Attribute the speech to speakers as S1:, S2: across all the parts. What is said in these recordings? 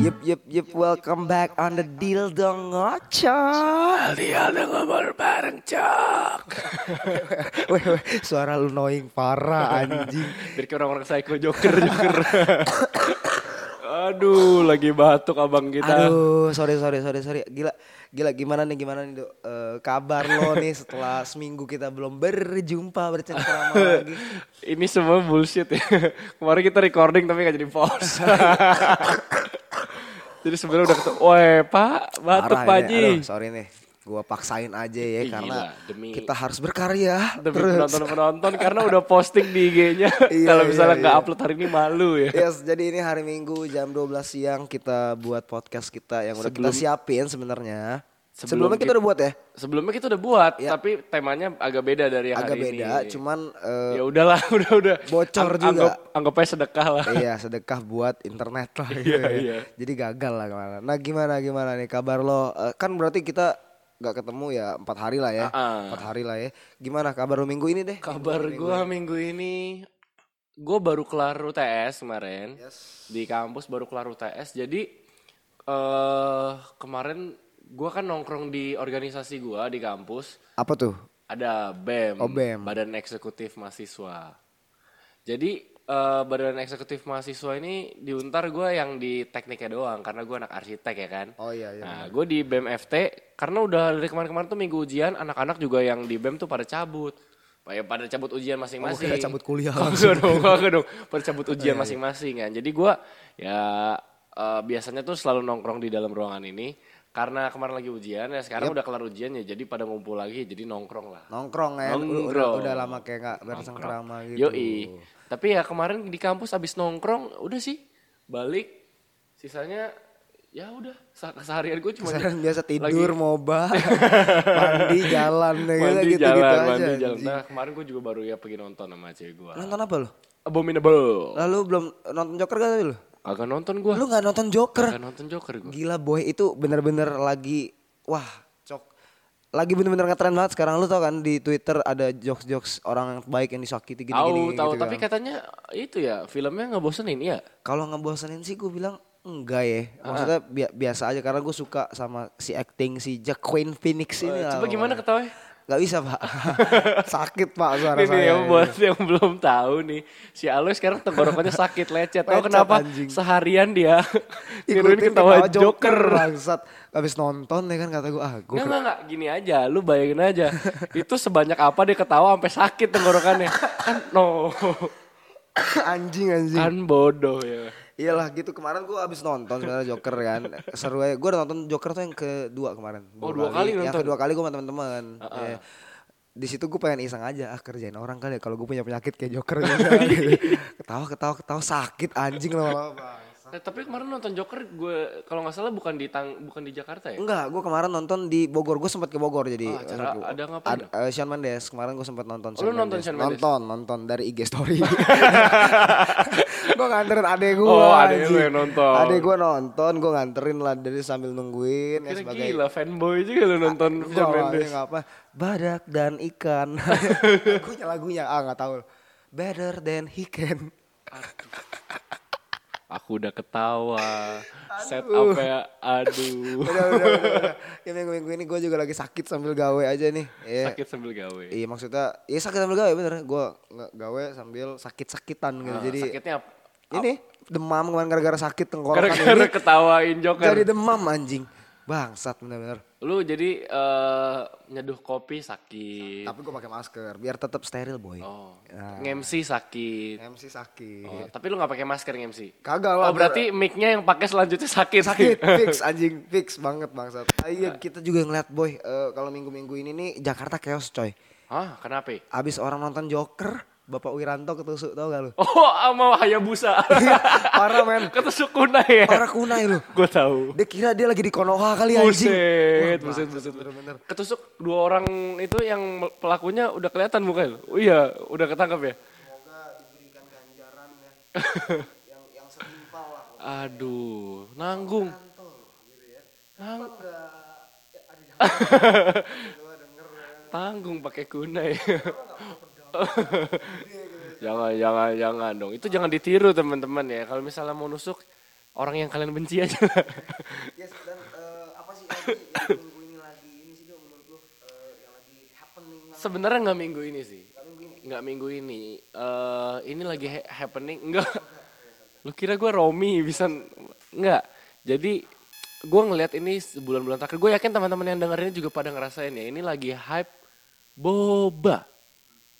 S1: Yep, yep, yep, welcome back on the deal dong ngocok.
S2: Dia ada ngobrol bareng cok
S1: Weh, weh, suara lu knowing parah anjing.
S2: Biar kayak orang-orang psycho joker joker Aduh lagi batuk abang kita
S1: Aduh, sorry, sorry, sorry, sorry. Gila, gila gimana nih, gimana nih, Dok? Eh, kabar lo nih setelah seminggu kita belum berjumpa, bercengkerama lagi.
S2: Ini semua bullshit ya Kemarin kita recording tapi gak jadi post Jadi sebenarnya udah ketemu Weh pak batuk
S1: Parah
S2: pak
S1: ini,
S2: Ji
S1: aduh, sorry nih. Gua paksain aja ya
S2: Gila,
S1: karena
S2: demi-
S1: kita harus berkarya.
S2: Demi
S1: Terus.
S2: penonton-penonton karena udah posting di IG-nya
S1: Iya,
S2: Kalau
S1: iya,
S2: misalnya nggak
S1: iya.
S2: upload hari ini malu ya
S1: Yes, jadi ini hari Minggu jam 12 siang kita buat podcast kita yang udah kita siapin sebenarnya.
S2: Sebelum
S1: Sebelumnya kita udah buat ya?
S2: Sebelumnya kita udah buat, tapi temanya agak beda dari
S1: Iya.
S2: yang
S1: Agak
S2: hari ini.
S1: beda, cuman eh,
S2: ya udahlah, udah udah.
S1: Bocor juga.
S2: Anggap, anggap aja sedekah lah.
S1: iya sedekah buat internet lah gitu
S2: Iya,
S1: ya.
S2: iya.
S1: Jadi gagal lah kemana. Nah gimana gimana nih kabar lo? Eh, kan berarti kita nggak ketemu ya empat hari lah ya.
S2: Ah.
S1: Empat hari lah ya. Gimana kabar lo minggu ini deh?
S2: Kabar gua minggu ini, gua baru kelar UTS kemarin di kampus baru kelar UTS. Jadi eh kemarin gua kan nongkrong di organisasi gua di kampus.
S1: Apa tuh?
S2: ada BEM,
S1: Oh, BEM.
S2: Badan Eksekutif Mahasiswa. Jadi eh, Badan Eksekutif Mahasiswa ini diuntar gue yang di tekniknya doang karena gue anak arsitek ya kan.
S1: Oh iya iya.
S2: Nah, gue di BEM FT karena udah dari kemarin-kemarin tuh minggu ujian anak-anak juga yang di BEM tuh pada cabut. Ya, pada cabut ujian masing-masing.
S1: Oh, kira cabut Oh, iya, kuliah.
S2: Kagak dong, kagak dong. Pada cabut ujian masing-masing kan. Jadi gue ya eh, biasanya tuh selalu nongkrong di dalam ruangan ini. Karena kemarin lagi ujian ya sekarang udah kelar ujiannya jadi pada ngumpul lagi jadi nongkrong lah.
S1: Nongkrong ya. Udah, udah,
S2: Nongkrong.
S1: udah lama kayak nggak bersengkrama gitu.
S2: Yoi. Tapi ya kemarin di kampus abis nongkrong udah sih balik. Sisanya ya udah se- keseharian gue cuma
S1: Sekarang biasa tidur,
S2: Lagi-
S1: moba, mandi, jalan, ya
S2: mandi
S1: gitu,
S2: jalan,
S1: gitu aja.
S2: mandi jalan.
S1: anjing.
S2: Nah kemarin gue juga baru ya pergi nonton sama cewek gue.
S1: Nonton apa lo?
S2: Abominable.
S1: Lalu belum nonton Joker gak tadi lo?
S2: Kagak nonton gue.
S1: Lu gak nonton Joker?
S2: Kagak nonton Joker gue.
S1: Gila boy itu bener-bener lagi wah cok lagi bener-bener ngetren banget sekarang lu tau kan di Twitter ada jokes-jokes orang yang baik yang disakiti
S2: Tahu
S1: gini-gini
S2: tahu
S1: gitu
S2: tapi
S1: kan.
S2: katanya itu ya filmnya nggak bosenin ya.
S1: Kalau ngebosenin sih gue bilang enggak ya. Maksudnya
S2: Ah.
S1: bi- biasa aja karena gue suka sama si acting si Joaquin Phoenix ini. lah,
S2: Eh, Coba
S1: Bang.
S2: gimana ketawa?
S1: Gak bisa pak. Sakit pak suara
S2: Ini nih ya,
S1: saya.
S2: yang buat
S1: iya.
S2: yang belum tahu nih si Aloy sekarang tenggorokannya sakit lecet. Tahu
S1: Lecet,
S2: kenapa?
S1: anjing.
S2: Seharian dia niruin
S1: Ikutin
S2: ketawa Joker.
S1: Bangsat. Abis nonton ya kan kata gue ah gue
S2: Enggak, enggak, enggak. Gini aja, lu bayangin aja. itu sebanyak apa dia ketawa sampai sakit tenggorokannya. kan no.
S1: anjing anjing.
S2: kan bodoh ya.
S1: Iyalah gitu kemarin gue abis nonton sebenarnya Joker kan seru aja gue udah nonton Joker tuh yang kedua kemarin
S2: Oh, dua kali
S1: yang
S2: nonton.
S1: kedua kali gue sama teman-teman Iya. di situ gue pengen iseng aja ah kerjain orang kali ya kalau gue punya penyakit kayak Joker juga gitu. ketawa ketawa ketawa sakit anjing lama-lama bangsa.
S2: Nah, tapi kemarin nonton Joker gue kalau nggak salah bukan di Tang- bukan di Jakarta ya?
S1: enggak gue kemarin nonton di Bogor gue sempat ke Bogor jadi
S2: Ah, acara
S1: eh,
S2: ada ngapain
S1: ad- eh, Shawn Mendes kemarin gue sempat nonton
S2: Oh, lu nonton Shawn Mendes?
S1: nonton nonton dari IG story gue nganterin adek gue
S2: Oh, adek lu yang nonton.
S1: adek gue nonton gue nganterin lah dari sambil nungguin ya
S2: Kira
S1: sebagai
S2: gila fanboy juga lu nonton
S1: Gua
S2: Shawn
S1: awalnya
S2: Mendes.
S1: nggak apa badak dan ikan lagunya lagunya ah nggak tahu better than he can
S2: Aku udah ketawa. Set up ya. Aduh.
S1: udah udah udah, udah. ya minggu minggu ini gue juga lagi sakit sambil gawe aja nih Iya.
S2: Sakit sambil gawe.
S1: iya maksudnya iya sakit sambil gawe bener gue gawe sambil sakit sakitan gitu
S2: Nah,
S1: jadi
S2: sakitnya apa?
S1: ini demam kemarin gara-gara sakit tenggorokan
S2: gara-gara kan?
S1: ini
S2: ketawain Joker.
S1: jadi demam anjing bangsat bener-bener
S2: Lu jadi eh, nyeduh kopi sakit.
S1: tapi gue pakai masker biar tetap steril boy
S2: Iya. Oh.
S1: Ya.
S2: MC sakit.
S1: MC sakit
S2: Oh, tapi lu nggak pakai masker MC.
S1: kagak lah
S2: Oh, berarti mic-nya yang pakai selanjutnya sakit.
S1: sakit fix anjing fix banget bangsat Ah,
S2: Nah.
S1: iya kita juga ngeliat boy eh, kalau minggu-minggu ini nih Jakarta chaos coy
S2: Hah, kenapa?
S1: abis orang nonton Joker Bapak Wiranto ketusuk tau gak lu
S2: Oh, sama Hayabusa.
S1: parah Iya, men
S2: Ketusuk kunai ya.
S1: parah kunai lu
S2: Gue tahu.
S1: dia kira dia lagi di Konoha kali Iya, anjing
S2: Buset, buset, buset. Ketusuk dua orang itu yang pelakunya udah kelihatan mukanya. Oh iya, udah ketangkap ya. Aduh, nanggung. Nang- tanggung pakai kunai. jangan jangan jangan dong. Itu jangan ditiru teman-teman ya. Kalau misalnya mau nusuk orang yang kalian benci aja. lah.
S1: Yes, dan eh, apa sih lagi yang minggu ini lagi ini sih dong menurut lu eh, yang lagi happening lah.
S2: Sebenarnya nggak minggu ini sih. Nggak minggu ini. Eh ini lagi ha- happening enggak? Lu kira gue Romi bisa enggak? Jadi gue ngelihat ini sebulan-bulan terakhir. Gue yakin teman-teman yang dengerin juga pada ngerasain ya. Ini lagi hype boba.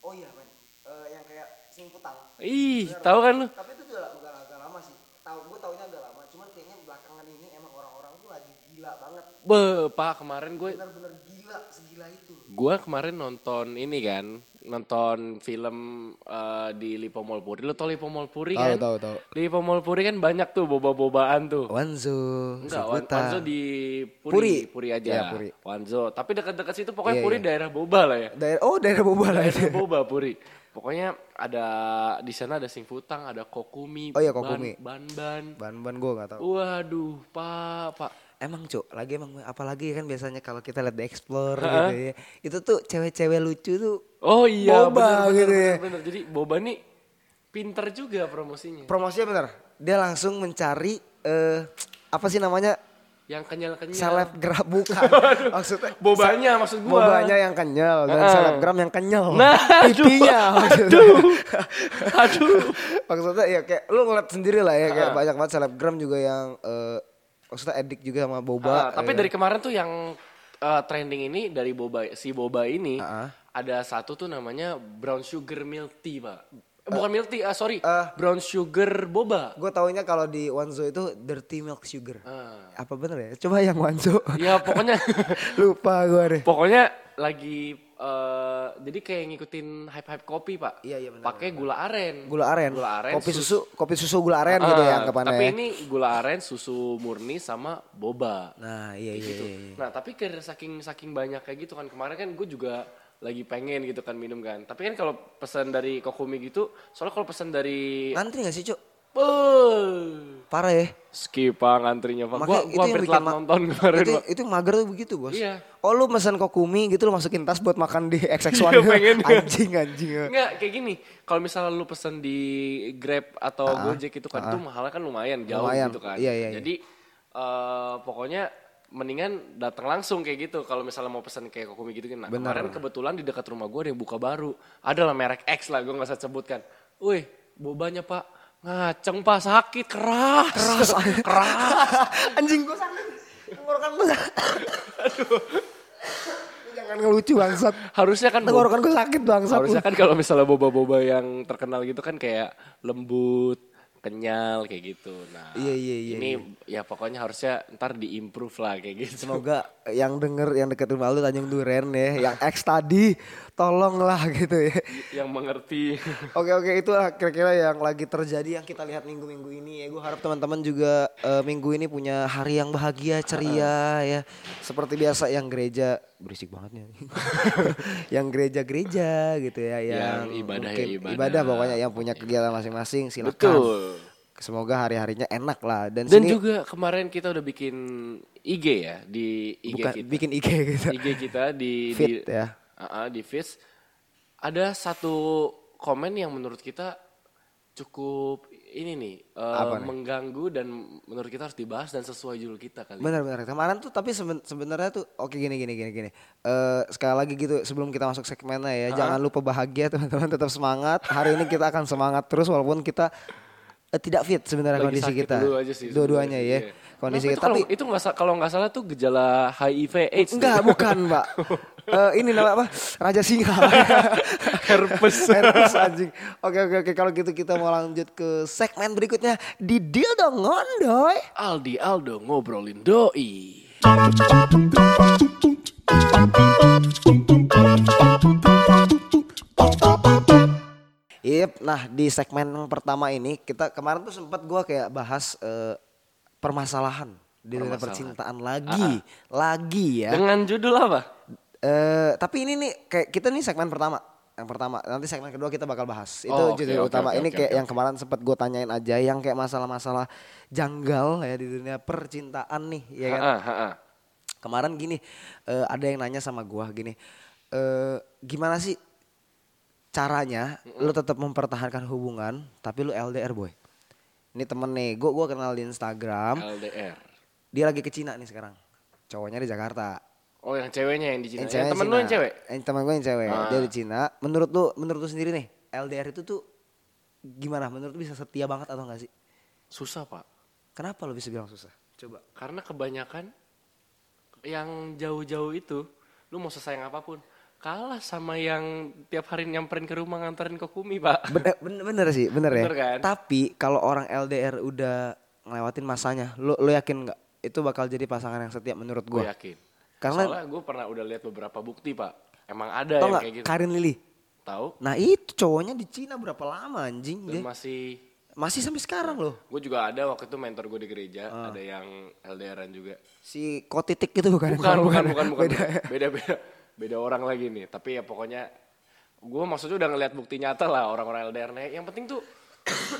S1: Oh iya, men. Eh, yang kayak simputang.
S2: Ih, tahu kan lu?
S1: Tapi itu udah agak, agak lama sih. Tahu gue taunya agak lama, cuman kayaknya belakangan ini emang orang-orang tuh lagi gila banget.
S2: Be, Pak, kemarin gue
S1: Bener-bener gila segila itu.
S2: gue kemarin nonton ini kan, nonton film eh, di Lipo Mall Puri. Lo tau Lipo Mall Puri kan?
S1: tahu, tahu.
S2: Lipo Mall Puri kan banyak tuh boba-bobaan tuh.
S1: Wanzo,
S2: Enggak, Wan- Wanzo di
S1: Puri.
S2: Puri, Puri, aja.
S1: Iya, Puri.
S2: Wanzo, tapi dekat-dekat situ
S1: Iya,
S2: pokoknya Puri
S1: iya.
S2: daerah boba lah ya.
S1: Daerah, oh daerah Boba lah itu.
S2: Daerah boba Puri. Pokoknya ada di sana ada singfutang, ada kokumi,
S1: Oh iya, kokumi.
S2: ban, ban,
S1: Ban-ban gue gak tahu.
S2: Waduh, Pak, Pak.
S1: Emang cuk, lagi emang apalagi kan biasanya kalau kita lihat di explore gitu ya. Itu tuh cewek-cewek lucu tuh
S2: Oh iya,
S1: Boba
S2: bener, bener,
S1: gitu ya.
S2: bener, bener. Jadi boba nih pinter juga promosinya.
S1: promosinya bener. Dia langsung mencari eh apa sih namanya?
S2: Yang kenyal-kenyal.
S1: Selebgram bukan. Maksudnya
S2: Bobanya maksud gua.
S1: bobanya yang kenyal dan
S2: Heeh.
S1: selebgram yang kenyal.
S2: Nah, aduh,
S1: Pipinya maksudnya.
S2: Aduh. Aduh.
S1: maksudnya ya kayak lu ngeliat sendiri lah ya kayak banyak banget selebgram juga yang eh maksudnya edik juga sama
S2: Ah,
S1: boba.
S2: tapi dari kemarin tuh yang eh, trending ini dari boba si boba ini
S1: Ah.
S2: ada satu tuh namanya brown sugar milk tea, Pak. Eh, Bukan milk tea, ah, sorry. brown sugar boba.
S1: Gue taunya kalau di Wanzo itu dirty milk sugar.
S2: Ah.
S1: Apa bener ya? Coba yang Wanzo.
S2: Ya pokoknya
S1: Lupa gue deh.
S2: pokoknya lagi eh, jadi kayak ngikutin hype-hype kopi, Pak.
S1: Iya, iya, benar,
S2: Pakai gula aren.
S1: Gula aren.
S2: Gula aren,
S1: Kopi susu, kopi susu gula aren gitu ya
S2: Ah,
S1: anggapannya.
S2: Tapi
S1: ya.
S2: ini gula aren, susu murni sama boba.
S1: Nah, iya iya
S2: gitu.
S1: iya. iya.
S2: Nah, tapi karena saking saking banyak kayak gitu kan kemarin kan gue juga lagi pengen gitu kan minum kan. Tapi kan kalau pesan dari Kokumi gitu, soalnya kalau pesan dari
S1: Ngantri gak sih, Cuk?
S2: Beuh.
S1: Parah ya.
S2: skip pak ngantrinya pak. Gua,
S1: Makanya
S2: gua hampir telat
S1: ma-
S2: nonton kemarin
S1: itu,
S2: pak.
S1: itu yang mager tuh begitu bos
S2: Iya.
S1: oh lu mesen kokumi gitu lu masukin tas buat makan di XX1
S2: Iya, pengen.
S1: anjing anjing
S2: Enggak kayak gini, kalau misalnya lu pesan di Grab atau Gojek itu kan itu mahalnya kan lumayan jauh
S1: Lumayan,
S2: gitu kan.
S1: iya, iya, iya.
S2: Jadi eh, pokoknya mendingan datang langsung kayak gitu kalau misalnya mau pesan kayak kokumi gitu kan. Nah, kemarin kebetulan di dekat rumah gue ada yang buka baru. Adalah merek X lah gue nggak usah sebutkan. Wih, bobanya Pak ngaceng Pak sakit keras. Keras. keras.
S1: anjing gue sakit tenggorokan gue sakit Lu jangan ngelucu bangsat
S2: Harusnya kan boba-
S1: tenggorokan gue sakit bangsat lu.
S2: Harusnya kan kalau misalnya boba-boba yang terkenal gitu kan kayak lembut, kenyal kayak gitu. Nah,
S1: Iya, iya, iya,
S2: ini ya pokoknya harusnya ntar diimprove lah kayak gitu.
S1: Semoga yang denger yang deket rumah lu Tanjung Duren ya, yang X tadi tolonglah gitu ya.
S2: Yang mengerti.
S1: Oke oke itulah kira-kira yang lagi terjadi yang kita lihat minggu-minggu ini ya. Gue harap teman-teman juga eh, minggu ini punya hari yang bahagia, ceria ya. Seperti biasa yang gereja berisik banget nih. yang gereja-gereja gitu ya, yang,
S2: Yang ibadah ya
S1: mungkin
S2: ibadah. Iya.
S1: pokoknya yang punya kegiatan masing-masing silakan.
S2: Betul.
S1: Semoga hari-harinya enak lah dan,
S2: Nah, Dan
S1: sini
S2: juga kemarin kita udah bikin IG ya di IG
S1: bukan
S2: kita.
S1: bikin IG gitu.
S2: IG kita di
S1: Feed
S2: di,
S1: ya.
S2: Ah, ah, di feeds. Ada satu komen yang menurut kita cukup ini nih, eh, mengganggu dan menurut kita harus dibahas dan sesuai judul kita kali.
S1: Benar-benar kemarin tuh tapi seben- sebenarnya tuh oke gini gini gini gini. Eh sekali lagi gitu sebelum kita masuk segmennya ya jangan lupa bahagia teman-teman tetap semangat. Hari ini kita akan semangat terus walaupun kita eh, tidak fit sebenarnya
S2: Lagi
S1: kondisi
S2: sakit
S1: kita.
S2: dulu aja sih
S1: Dua-duanya
S2: sebenarnya,
S1: ya
S2: iya.
S1: kondisi kita.
S2: Kenapa itu kalau-
S1: Tapi
S2: itu nggak sa- kalau nggak salah tuh gejala HIV AIDS.
S1: enggak bukan mbak. Eh ini namanya apa? Raja singa.
S2: herpes.
S1: Herpes anjing. Oke oke oke kalau gitu kita mau lanjut ke segmen berikutnya di deal dong ngondoy.
S2: Aldi Aldo ngobrolin doi.
S1: Yep, nah di segmen yang pertama ini kita kemarin tuh sempat gua kayak bahas eh, permasalahan di dunia
S2: Permasalahan. Ah,
S1: percintaan lagi, lagi ya.
S2: Dengan judul apa?
S1: Eh, tapi ini nih kayak kita nih segmen pertama, yang pertama. Nanti segmen kedua kita bakal bahas. Itu
S2: Oh, oke,
S1: judul
S2: oke,
S1: utama.
S2: oke,
S1: ini
S2: oke,
S1: kayak
S2: oke,
S1: yang kemarin sempat gue tanyain aja, yang kayak masalah-masalah janggal ya di dunia
S2: Ah,
S1: percintaan nih, ya kan?
S2: Ha-ha, ha-ha.
S1: Kemarin gini, eh, ada yang nanya sama gua gini, eh, gimana sih caranya lu tetap mempertahankan hubungan tapi lu LDR boy. Ini temen nih, gue gua kenal di Instagram.
S2: LDR.
S1: Dia lagi ke Cina nih sekarang. Cowoknya di Jakarta.
S2: Oh yang ceweknya yang di Cina.
S1: Yang
S2: Yang
S1: ceweknya
S2: temen lu yang
S1: Cina.
S2: cewek?
S1: Yang temen gue yang cewek.
S2: Ah.
S1: Dia di Cina. Menurut lu, menurut lu sendiri nih, LDR itu tuh gimana? Menurut lu bisa setia banget atau enggak sih?
S2: Susah pak.
S1: Kenapa lu bisa bilang susah? Coba.
S2: Karena kebanyakan yang jauh-jauh itu lu mau sesayang apapun kalah sama yang tiap hari nyamperin ke rumah nganterin ke kumi pak.
S1: Bener, bener, eh, bener sih, bener ya.
S2: Bener kan?
S1: Tapi kalau orang LDR udah ngelewatin masanya, lu, lu yakin nggak? Itu bakal jadi pasangan yang setia menurut
S2: Gue
S1: gue.
S2: yakin.
S1: Karena-
S2: Soalnya gue pernah udah lihat beberapa bukti pak. Emang
S1: Tau
S2: ada yang
S1: nggak
S2: kayak gitu.
S1: Karin Lili?
S2: Tahu?
S1: Nah itu cowoknya di Cina berapa lama anjing
S2: Dan
S1: dia?
S2: masih
S1: Masih sampai sekarang loh.
S2: gue juga ada waktu itu mentor gue di gereja
S1: Ah.
S2: ada yang LDRan juga.
S1: Si kotitik itu bukan?
S2: Bukan, bukan, bukan, bukan.
S1: Beda.
S2: Beda, beda, beda orang lagi nih. Tapi ya pokoknya gue maksudnya udah ngeliat bukti nyata lah orang-orang LDR. Nah, yang penting tuh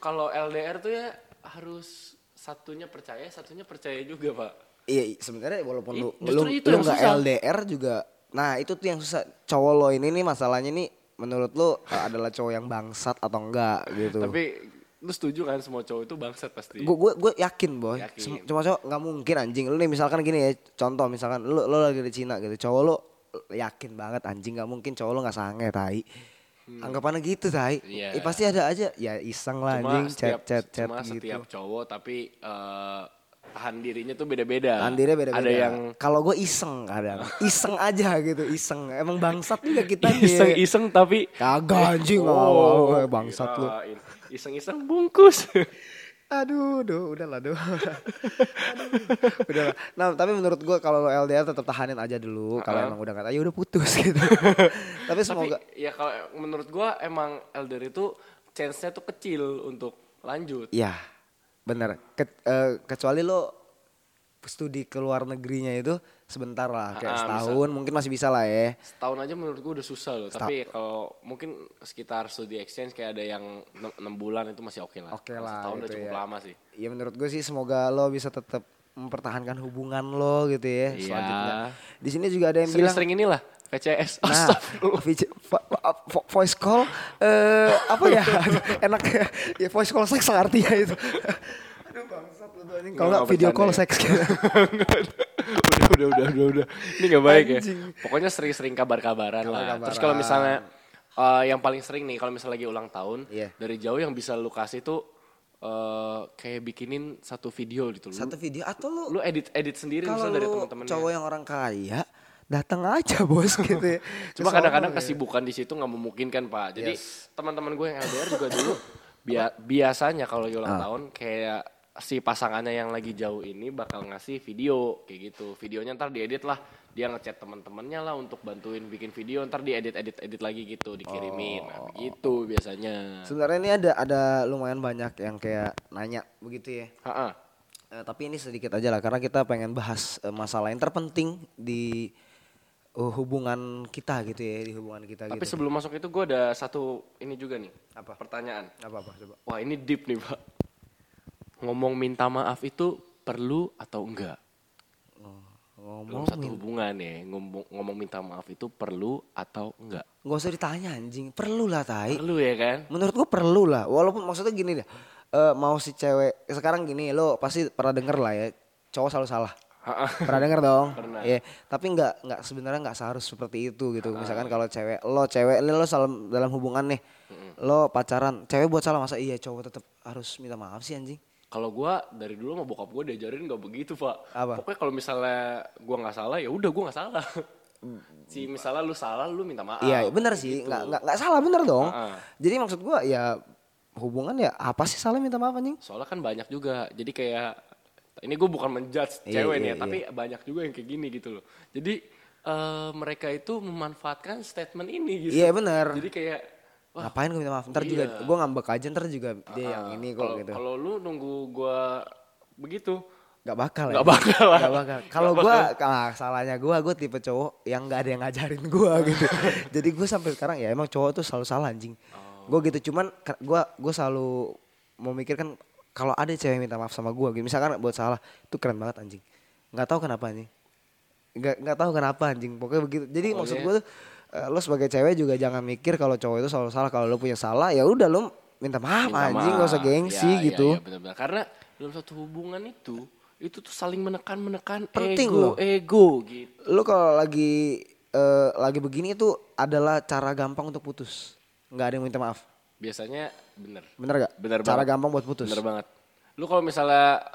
S2: kalau LDR tuh ya harus satunya percaya, satunya percaya juga pak.
S1: Iya, i- sebenarnya walaupun lu
S2: I- justru
S1: lu,
S2: itu
S1: lu
S2: yang
S1: nggak
S2: susah.
S1: LDR juga. Nah, itu tuh yang susah. Cowok lo ini nih masalahnya nih menurut lu eh, adalah cowok yang bangsat atau enggak gitu.
S2: Tapi lu setuju kan semua cowok itu bangsat pasti.
S1: Gue gue gue yakin boy.
S2: Yakin.
S1: Sem- Cuma cowok nggak mungkin anjing. Lu nih misalkan gini ya, contoh misalkan lu lu lagi di Cina gitu. Cowok lu yakin banget anjing nggak mungkin cowok lu nggak sange tai. Anggapannya gitu tai.
S2: Hmm. Iya.
S1: Eh, pasti ada aja ya iseng lah
S2: cuma
S1: anjing
S2: setiap,
S1: chat chat chat
S2: cuma
S1: gitu.
S2: setiap cowok tapi eh, tahan dirinya tuh beda-beda.
S1: Nah, Andirnya beda-beda.
S2: eh, Ada yang
S1: kalau gue iseng kadang, iseng aja gitu, iseng. Emang bangsat juga kita nih.
S2: iseng-iseng tapi
S1: Kagak anjing
S2: Oh,
S1: nggak mau eh, bangsat lu.
S2: kirain. Iseng-iseng bungkus.
S1: Aduh, duh, udahlah, duh. Aduh, udahlah. Nah, tapi menurut gua kalau lo LDR tetap tahanin aja dulu. Kalau emang udah kata, ya udah putus gitu. tapi semoga
S2: Tapi ya kalau menurut gua emang elder itu chance-nya tuh kecil untuk lanjut.
S1: Iya, bener. Ke- eh, kecuali lo studi ke luar negerinya itu sebentar lah, kayak
S2: Ah, ah,
S1: setahun mungkin masih bisa lah ya.
S2: Setahun aja menurut gua udah susah loh. Tapi ya kalau mungkin sekitar studi exchange kayak ada yang 6 bulan itu masih oke lah.
S1: Oke
S2: Kalau
S1: lah,
S2: Setahun udah
S1: gitu
S2: cukup
S1: ya.
S2: lama sih.
S1: Ya menurut gue sih semoga lo bisa tetap mempertahankan hubungan lo gitu ya.
S2: Iya.
S1: Selanjutnya. Di sini juga ada yang bilang
S2: Sering-sering inilah VCS.
S1: Nah,
S2: Astagfirullah.
S1: video- vo- vo- vo- voice call eh apa ya? Enak ya. ya voice call seks lah artinya itu. Aduh bangsat lu tuh anjing. Kalau
S2: Nggak,
S1: nggak video
S2: bercanda
S1: call
S2: ya.
S1: seks.
S2: udah, udah, udah, udah, udah. Ini gak baik ya.
S1: Anjing.
S2: Pokoknya sering-sering kabar-kabaran lah.
S1: Kabar-kabaran.
S2: Terus kalau misalnya eh, yang paling sering nih kalau misalnya lagi ulang tahun,
S1: Iya.
S2: dari jauh yang bisa lu kasih tuh eh, kayak bikinin satu video gitu. Lu,
S1: Satu video atau lu
S2: lu edit edit sendiri
S1: kalau
S2: misalnya dari
S1: lu
S2: teman-teman.
S1: cowok yang orang kaya datang aja bos gitu ya.
S2: Cuma
S1: Kesel
S2: kadang-kadang
S1: banget ya.
S2: kesibukan di situ nggak memungkinkan pak. Jadi teman-teman gue yang LDR juga dulu bia- biasanya kalau lagi
S1: Ah.
S2: ulang tahun kayak si pasangannya yang lagi jauh ini bakal ngasih video kayak gitu. Videonya ntar diedit lah, dia ngechat teman-temannya lah untuk bantuin bikin video. Ntar diedit-edit edit lagi gitu dikirimin. Nah,
S1: Oh.
S2: begitu biasanya.
S1: Sebenarnya ini ada ada lumayan banyak yang kayak nanya begitu ya.
S2: Ha-ha.
S1: Eh, tapi ini sedikit aja lah karena kita pengen bahas eh, masalah yang terpenting di eh, hubungan kita gitu ya di hubungan kita
S2: Tapi
S1: gitu.
S2: sebelum masuk itu gue ada satu ini juga nih.
S1: Apa?
S2: Pertanyaan.
S1: Gak apa-apa coba.
S2: Wah ini deep nih pak. Ngomong minta maaf itu perlu atau enggak?
S1: Ngomong
S2: dalam satu hubungan ya ngomong ngomong minta maaf itu perlu atau enggak
S1: nggak usah ditanya anjing, perlu lah tai.
S2: perlu ya kan
S1: Menurut gua perlu lah, walaupun maksudnya gini deh. eh, mau si cewek sekarang gini lo pasti pernah denger lah ya cowok selalu salah pernah denger dong
S2: Pernah.
S1: Iya. tapi nggak nggak sebenarnya nggak seharus seperti itu gitu
S2: Ah.
S1: misalkan kalau cewek lo cewek ini lo salam dalam hubungan nih lo pacaran cewek buat salah masa iya cowok tetap harus minta maaf sih anjing
S2: kalau gua dari dulu sama bokap gua diajarin nggak begitu pak
S1: Apa?
S2: pokoknya kalau misalnya gua nggak salah ya udah gua nggak salah si misalnya lu salah lu minta maaf
S1: Hmm. Iya bener sih nggak nggak nggak salah bener dong
S2: gitu. Ah, ah.
S1: jadi maksud gua ya hubungan ya apa sih salah minta maaf anjing
S2: soalnya kan banyak juga jadi kayak ini gue bukan menjudge
S1: Iya,
S2: cewek nih
S1: iya,
S2: ya, tapi banyak juga yang kayak gini gitu loh jadi eh, mereka itu memanfaatkan statement ini gitu
S1: Iya, bener.
S2: jadi kayak wah Iya.
S1: ngapain gue minta maaf ntar juga gue ngambek aja ntar juga dia yang ini kok
S2: Ah, kalau
S1: gitu
S2: kalau lu nunggu gua begitu
S1: nggak bakal ya.
S2: Nggak bakal lah.
S1: Nggak bakal kalau gue ah, salahnya gue gue tipe cowok yang nggak ada yang ngajarin gue gitu jadi gue sampai sekarang ya emang cowok tuh selalu salah anjing
S2: Oh.
S1: gue gitu cuman gue gue selalu memikirkan kalau ada cewek minta maaf sama gue gitu misalkan buat salah itu keren banget anjing nggak tahu kenapa anjing nggak nggak tahu kenapa anjing pokoknya begitu jadi maksud
S2: Pokoknya-
S1: gue tuh eh, lo sebagai cewek juga jangan mikir kalau cowok itu selalu salah kalau lo punya salah ya udah lo minta maaf
S2: Minta
S1: anjing
S2: maaf.
S1: gak usah gengsi
S2: Ya, ya,
S1: gitu
S2: ya, benar-benar. Karena dalam satu hubungan itu itu tuh saling menekan menekan
S1: Penting
S2: ego
S1: loh.
S2: ego gitu.
S1: lo kalau lagi eh, lagi begini itu adalah cara gampang untuk putus nggak ada yang minta maaf
S2: Biasanya bener.
S1: bener gak
S2: Bener
S1: cara
S2: banget.
S1: gampang buat putus
S2: Bener banget. Lu kalau misalnya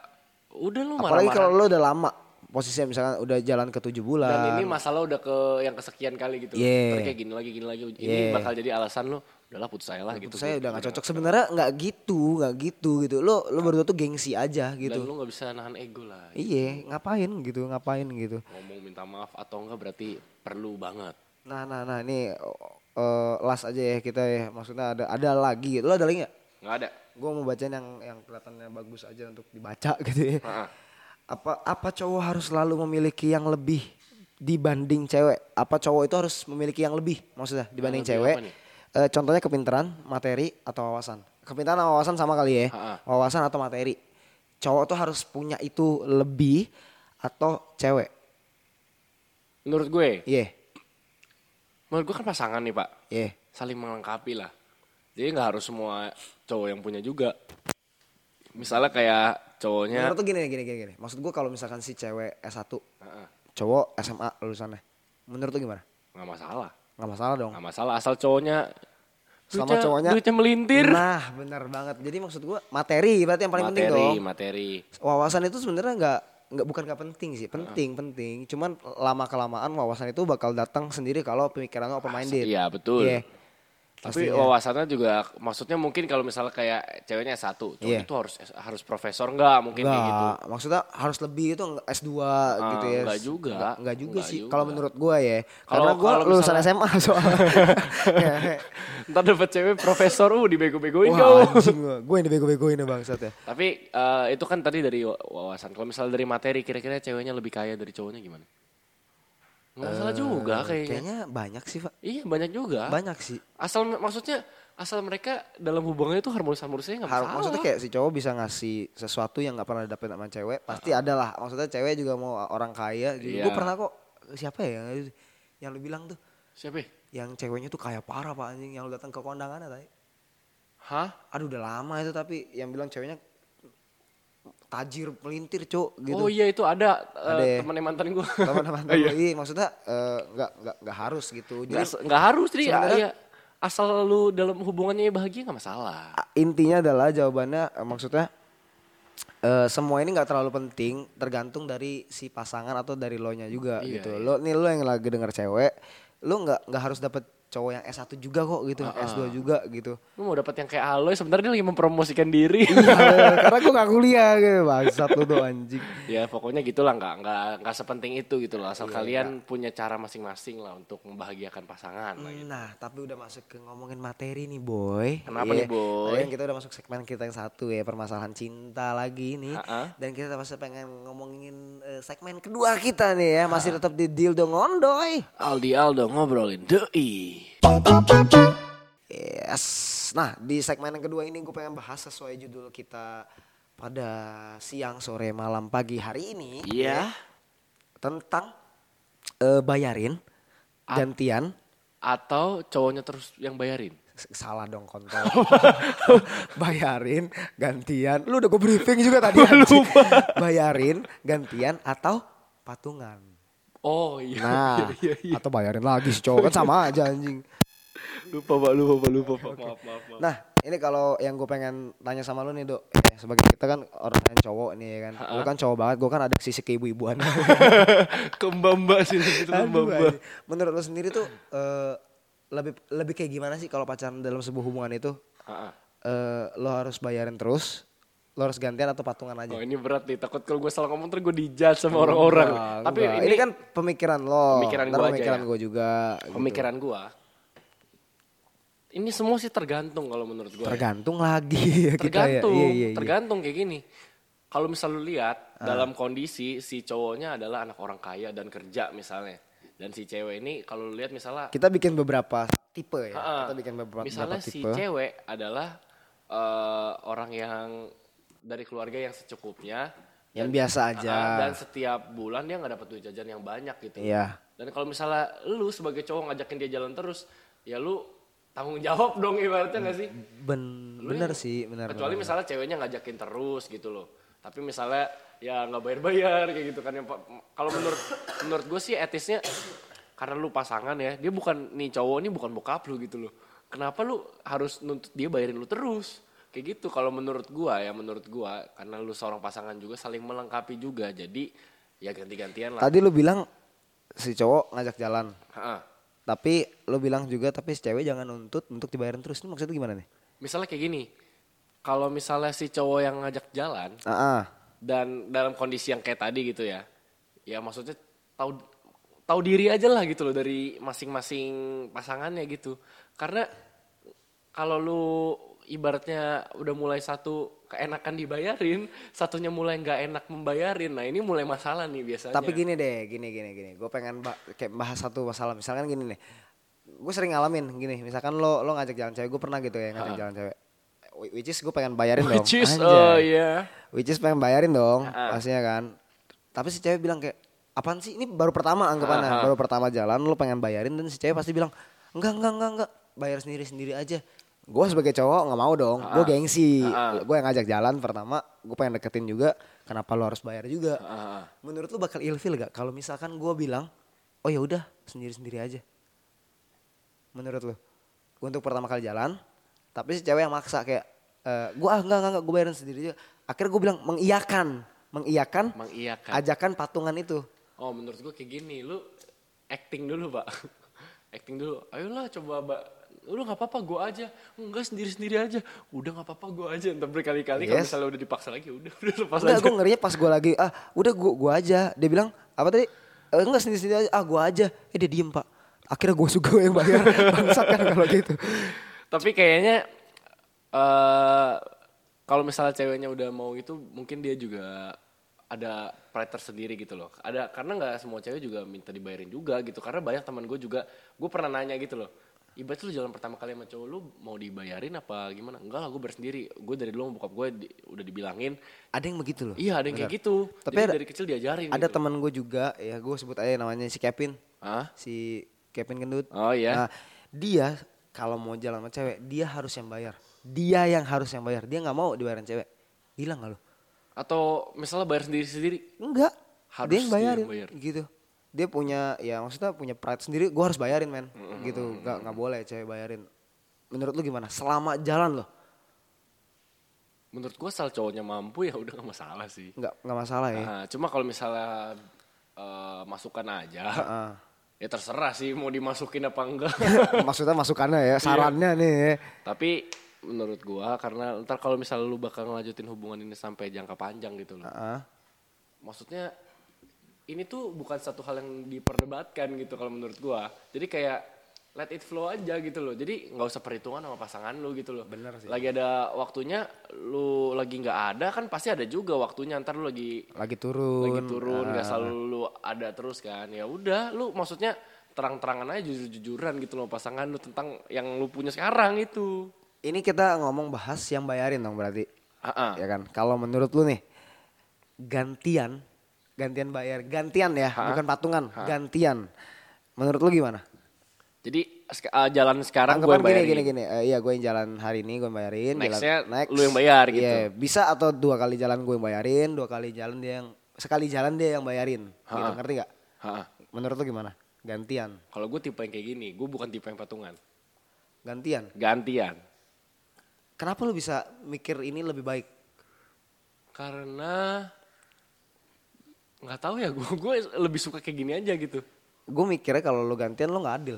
S2: udah lu
S1: apalagi
S2: marah-marah.
S1: kalau lo udah lama posisinya misalkan udah jalan ke tujuh bulan
S2: Dan ini masalah udah ke yang kesekian kali gitu.
S1: Yeah.
S2: Ntar kayak gini lagi gini lagi. Ini
S1: Yeah.
S2: bakal jadi alasan lu udahlah putus aja lah gitu.
S1: saya udah nggak cocok sebenarnya nggak gitu nggak gitu gitu lo lo berdua tuh gengsi aja
S2: Dan
S1: gitu
S2: lu gak bisa nahan ego lah.
S1: iya ngapain gitu ngapain gitu
S2: Ngomong minta maaf atau enggak berarti perlu banget.
S1: nah nah nah ini eh, last aja ya kita ya maksudnya ada ada lagi lo ada lagi nggak
S2: Nggak ada.
S1: gue mau bacain yang yang kelihatannya bagus aja untuk dibaca gitu ya
S2: Ha-ha.
S1: apa apa cowok harus selalu memiliki yang lebih dibanding cewek apa cowok itu harus memiliki yang lebih maksudnya dibanding
S2: lebih
S1: cewek
S2: apa nih?
S1: Eh, contohnya kepintaran materi atau wawasan kepintaran sama wawasan sama kali ya
S2: Ha-ha.
S1: wawasan atau materi cowok tuh harus punya itu lebih atau cewek
S2: Menurut gue,
S1: iya
S2: menurut gue kan pasangan nih pak.
S1: iya
S2: saling melengkapi lah. Jadi nggak harus semua cowok yang punya juga. Misalnya kayak cowoknya
S1: menurut tuh gini gini gini gini maksud gue kalau misalkan si cewek S1
S2: Heeh,
S1: cowok SMA lulusannya menurut tuh gimana
S2: nggak masalah,
S1: nggak masalah dong
S2: nggak masalah asal cowoknya
S1: Sama
S2: duitnya-
S1: cowoknya-
S2: duitnya melintir.
S1: Nah, benar banget. Jadi maksud gua materi berarti yang paling penting
S2: materi,
S1: dong.
S2: materi.
S1: Wawasan itu sebenarnya nggak nggak bukan nggak penting sih, penting penting. Cuman lama kelamaan wawasan itu bakal datang sendiri kalau pemikiran lo open minded.
S2: Iya betul.
S1: Iya.
S2: Tapi
S1: Pastinya.
S2: wawasannya juga maksudnya mungkin kalau misalnya kayak ceweknya satu, cowok
S1: Iya.
S2: itu harus harus profesor nggak mungkin kayak gitu. Ah,
S1: Nggak, maksudnya harus lebih itu nggak- S2 gitu ya.
S2: nggak juga.
S1: Nggak, nggak juga
S2: Nggak
S1: sih.
S2: juga.
S1: Kalau menurut gua ya.
S2: Kalau-
S1: Karena gua
S2: kalau
S1: lulusan
S2: misalnya-
S1: SMA soalnya. Ya,
S2: Ntar dapet cewek profesor, uh dibego-begoin
S1: Wah,
S2: kau.
S1: anjing gua. Gua yang dibego-begoin ya bangsat ya.
S2: Tapi eh, itu kan tadi dari wa- wawasan. Kalau misalnya dari materi, kira-kira ceweknya lebih kaya dari cowoknya gimana? Nggak salah juga kayaknya.
S1: Eh, Kayaknya banyak sih, Pak.
S2: Iya banyak juga.
S1: Banyak sih.
S2: Asal maksudnya asal mereka dalam hubungannya itu harmonis-harmonisnya nggak
S1: Har-
S2: masalah.
S1: maksudnya kayak si cowok bisa ngasih sesuatu yang nggak pernah dapet sama cewek pasti ada lah maksudnya cewek juga mau orang kaya juga. gue
S2: Iya.
S1: pernah kok siapa ya yang, yang lu bilang tuh
S2: Siapa? ya?
S1: yang ceweknya tuh kaya parah pak anjing yang lu datang ke kondangannya tadi
S2: Hah?
S1: aduh udah lama itu tapi yang bilang ceweknya tajir pelintir cuk
S2: Oh
S1: gitu
S2: iya itu ada,
S1: Ada ya?
S2: eh, temannya mantan gue.
S1: teman-teman
S2: iya.
S1: iya. maksudnya eh, nggak nggak nggak harus gitu
S2: nggak,
S1: jadi
S2: se- nggak harus jadi
S1: Sebenarnya-
S2: iya. asal lu dalam hubungannya bahagia nggak masalah.
S1: A- intinya adalah jawabannya eh, maksudnya eh, semua ini nggak terlalu penting tergantung dari si pasangan atau dari lo nya juga
S2: Iya,
S1: gitu lo nih lo yang lagi denger cewek lo nggak nggak harus dapet cowok yang S1 juga kok gitu S2 juga gitu
S2: Lu mau dapat yang kayak Aloy sebenarnya dia lagi mempromosikan diri.
S1: Eh, karena gue nggak kuliah gitu bangsat lo tuh anjing
S2: ya pokoknya gitulah nggak nggak nggak sepenting itu gitu loh asal kalian punya cara masing-masing lah untuk membahagiakan pasangan lah gitu.
S1: Nah, tapi udah masuk ke ngomongin materi nih, boy.
S2: Kenapa
S1: Iya.
S2: nih, Boy?
S1: Tadi kan kita udah masuk segmen kita yang satu ya, permasalahan cinta lagi nih.
S2: Ha-ha.
S1: Dan kita pasti pengen ngomongin eh, segmen kedua kita nih ya, masih tetap di deal dong ondoy.
S2: Aldi Aldo ngobrolin doi
S1: Yes. Nah, di segmen yang kedua ini gue pengen bahas sesuai judul kita pada siang, sore, malam, pagi hari ini ya,
S2: Iya.
S1: tentang eh, bayarin gantian
S2: atau cowoknya terus yang bayarin
S1: salah dong kontol bayarin gantian lu udah gue briefing juga tadi anjing. bayarin gantian atau patungan
S2: oh iya
S1: nah
S2: iya, iya.
S1: atau bayarin lagi si cowok kan sama aja anjing
S2: lupa pak lupa pak lupa pak maaf maaf maaf
S1: nah ini kalau yang gue pengen tanya sama lu nih dok Eh, sebagai kita kan orang yang cowok nih ya kan lu kan cowok banget gue kan ada sisi keibu-ibuan
S2: ke mbak mbak sih ke mbak
S1: Aduh,
S2: mbak
S1: anjing. menurut lu sendiri tuh eh, lebih lebih kayak gimana sih kalau pacaran dalam sebuah hubungan itu
S2: Ah, ah.
S1: eh, lo harus bayarin terus lo harus gantian atau patungan aja
S2: oh ini berat nih takut kalau gue salah ngomong terus gue dijudge sama orang-orang
S1: Enggak,
S2: tapi
S1: enggak.
S2: ini,
S1: kan pemikiran lo.
S2: Pemikiran
S1: Ntar
S2: gua aja
S1: pemikiran
S2: ya.
S1: gua juga. gitu.
S2: pemikiran gua ini semua sih tergantung kalau menurut gue
S1: Tergantung lagi ya kita ya.
S2: tergantung
S1: Iya, iya, Ah. iya.
S2: tergantung kayak gini kalau misal lu lihat dalam kondisi si cowoknya adalah anak orang kaya dan kerja misalnya dan si cewek ini kalau lu lihat misalnya
S1: Kita bikin beberapa tipe ya.
S2: Ah,
S1: Kita bikin beberapa,
S2: misalnya
S1: beberapa
S2: si
S1: tipe.
S2: cewek adalah eh, orang yang dari keluarga yang secukupnya
S1: Yang biasa aja.
S2: Ah, Dan setiap bulan dia nggak dapat duit jajan yang banyak gitu.
S1: Iya.
S2: Dan kalau misalnya lu sebagai cowok ngajakin dia jalan terus, ya lu tanggung jawab dong ibaratnya nggak sih?
S1: Ben, bener sih, bener.
S2: Kecuali misalnya ceweknya ngajakin terus gitu loh. Tapi misalnya ya nggak bayar-bayar kayak gitu kan. Yang pa- Kalau menurut menurut gue sih etisnya karena lu pasangan ya, dia bukan nih cowok ini bukan bokap lu gitu loh. Kenapa lu harus nuntut dia bayarin lu terus? Kayak gitu kalau menurut gua ya menurut gua karena lu seorang pasangan juga saling melengkapi juga. Jadi ya ganti-gantian lah.
S1: Tadi lu bilang si cowok ngajak jalan.
S2: Ha-ha.
S1: Tapi lu bilang juga tapi si cewek jangan nuntut untuk dibayarin terus. Ini maksudnya gimana nih?
S2: Misalnya kayak gini. Kalau misalnya si cowok yang ngajak jalan,
S1: Ah, ah.
S2: dan dalam kondisi yang kayak tadi gitu ya ya maksudnya tahu tahu diri aja lah gitu loh dari masing-masing pasangannya gitu karena kalau lu ibaratnya udah mulai satu keenakan dibayarin satunya mulai nggak enak membayarin nah ini mulai masalah nih biasanya
S1: Tapi gini deh, gini gini gini. Gue pengen ba- kayak bahas satu masalah. Misalkan gini nih. Gue sering ngalamin gini. Misalkan lo lo ngajak jalan cewek, gue pernah gitu ya ngajak jalan cewek. Which is gue pengen bayarin dong.
S2: Ah. which is
S1: Anjay.
S2: oh iya Ah.
S1: Which is pengen bayarin dong, pastinya kan. Tapi si cewek bilang kayak, apaan sih? Ini baru pertama anggapannya,
S2: Ah,
S1: baru pertama jalan, lu pengen bayarin dan si cewek pasti bilang, enggak enggak enggak enggak, bayar sendiri sendiri aja. Gue sebagai cowok nggak mau dong,
S2: Ah,
S1: gue gengsi, gue yang ngajak jalan pertama, gue pengen deketin juga, kenapa lu harus bayar juga?
S2: Ah,
S1: Menurut lu bakal ilfil gak? Kalau misalkan gue bilang, oh ya udah sendiri sendiri aja. Menurut lu, untuk pertama kali jalan, tapi si cewek yang maksa kayak, gue ah enggak enggak, enggak gue bayarin sendiri aja. Akhirnya gue bilang mengiyakan, mengiyakan
S2: mengiyakan
S1: ajakan patungan itu.
S2: Oh menurut gue kayak gini, lu acting dulu pak, acting dulu. Ayolah coba mbak, lu nggak apa-apa gue aja, enggak sendiri-sendiri aja. Udah nggak apa-apa gue aja, ntar berkali-kali kalau
S1: Yes.
S2: misalnya udah dipaksa lagi, udah udah lepas
S1: Enggak,
S2: aja.
S1: gue ngerinya pas gue lagi, ah udah gue gua aja. Dia bilang, apa tadi? "Eh, enggak sendiri-sendiri aja, ah gue aja. Eh dia diem pak. Akhirnya gue suka yang bayar. Bangsat kan kalau gitu.
S2: Tapi kayaknya eh kalau misalnya ceweknya udah mau itu, mungkin dia juga ada pride tersendiri gitu loh. Ada karena nggak semua cewek juga minta dibayarin juga gitu. Karena banyak teman gue juga, gue pernah nanya gitu loh. Ibarat lu jalan pertama kali sama cowok lu mau dibayarin apa gimana? Enggak lah gue bersendiri. Gue dari dulu sama bokap gue di- udah dibilangin.
S1: Ada yang begitu loh.
S2: Iya ada yang kayak gitu.
S1: Tapi
S2: Jadi
S1: ada-
S2: dari kecil diajarin
S1: Ada
S2: gitu.
S1: teman gue juga, ya gue sebut aja namanya si Kevin.
S2: Hah?
S1: Si Kevin Gendut.
S2: Oh iya.
S1: Nah, dia kalau mau jalan sama cewek, dia harus yang bayar. Dia yang harus yang bayar. Dia nggak mau dibayarin cewek. Gila gak lo?
S2: Atau misalnya bayar sendiri-sendiri.
S1: Enggak.
S2: Harus
S1: dia yang
S2: dia yang
S1: bayarin
S2: bayar.
S1: gitu. Dia punya ya maksudnya punya pride sendiri, gua harus bayarin, men. Gitu. Enggak nggak boleh cewek bayarin. Menurut lu gimana? Selama jalan loh.
S2: Menurut gue asal cowoknya mampu ya udah gak masalah sih.
S1: Enggak enggak masalah ya.
S2: Nah, cuma kalau misalnya eh, masukan aja,
S1: Heeh.
S2: ya terserah sih mau dimasukin apa enggak.
S1: maksudnya masukannya ya, sarannya nih ya.
S2: Tapi menurut gua karena ntar kalau misalnya lu bakal ngelanjutin hubungan ini sampai jangka panjang gitu loh.
S1: Heeh.
S2: Maksudnya ini tuh bukan satu hal yang diperdebatkan gitu kalau menurut gua. Jadi kayak let it flow aja gitu loh. Jadi nggak usah perhitungan sama pasangan lu gitu loh. Bener sih. Lagi ada waktunya, lu lagi nggak ada kan pasti ada juga waktunya. Ntar lu lagi
S1: Lagi turun. Ah.
S2: lagi turun nggak selalu lu ada terus kan ya udah lu maksudnya terang-terangan aja jujur-jujuran gitu loh pasangan lu tentang yang lu punya sekarang itu
S1: Ini kita ngomong bahas yang bayarin dong berarti.
S2: Ah, ah.
S1: ya kan kalau menurut lu nih gantian gantian bayar gantian ya bukan patungan gantian menurut lu gimana
S2: jadi sek- ah, jalan sekarang gue
S1: anggapan gini
S2: bayarin
S1: gini gini Eh, iya gue yang jalan hari ini gue yang bayarin
S2: Nextnya
S1: jalan next
S2: lu yang bayar gitu.
S1: Iya, bisa atau dua kali jalan gue yang bayarin dua kali jalan dia yang sekali jalan dia yang bayarin gitu, ngerti gak
S2: Ha, ah.
S1: menurut lu gimana gantian
S2: kalau gue tipe yang kayak gini gue bukan tipe yang patungan
S1: gantian
S2: gantian
S1: kenapa lu bisa mikir ini lebih baik
S2: karena nggak tahu ya gue gue lebih suka kayak gini aja gitu
S1: gue mikirnya kalau lu gantian lu nggak adil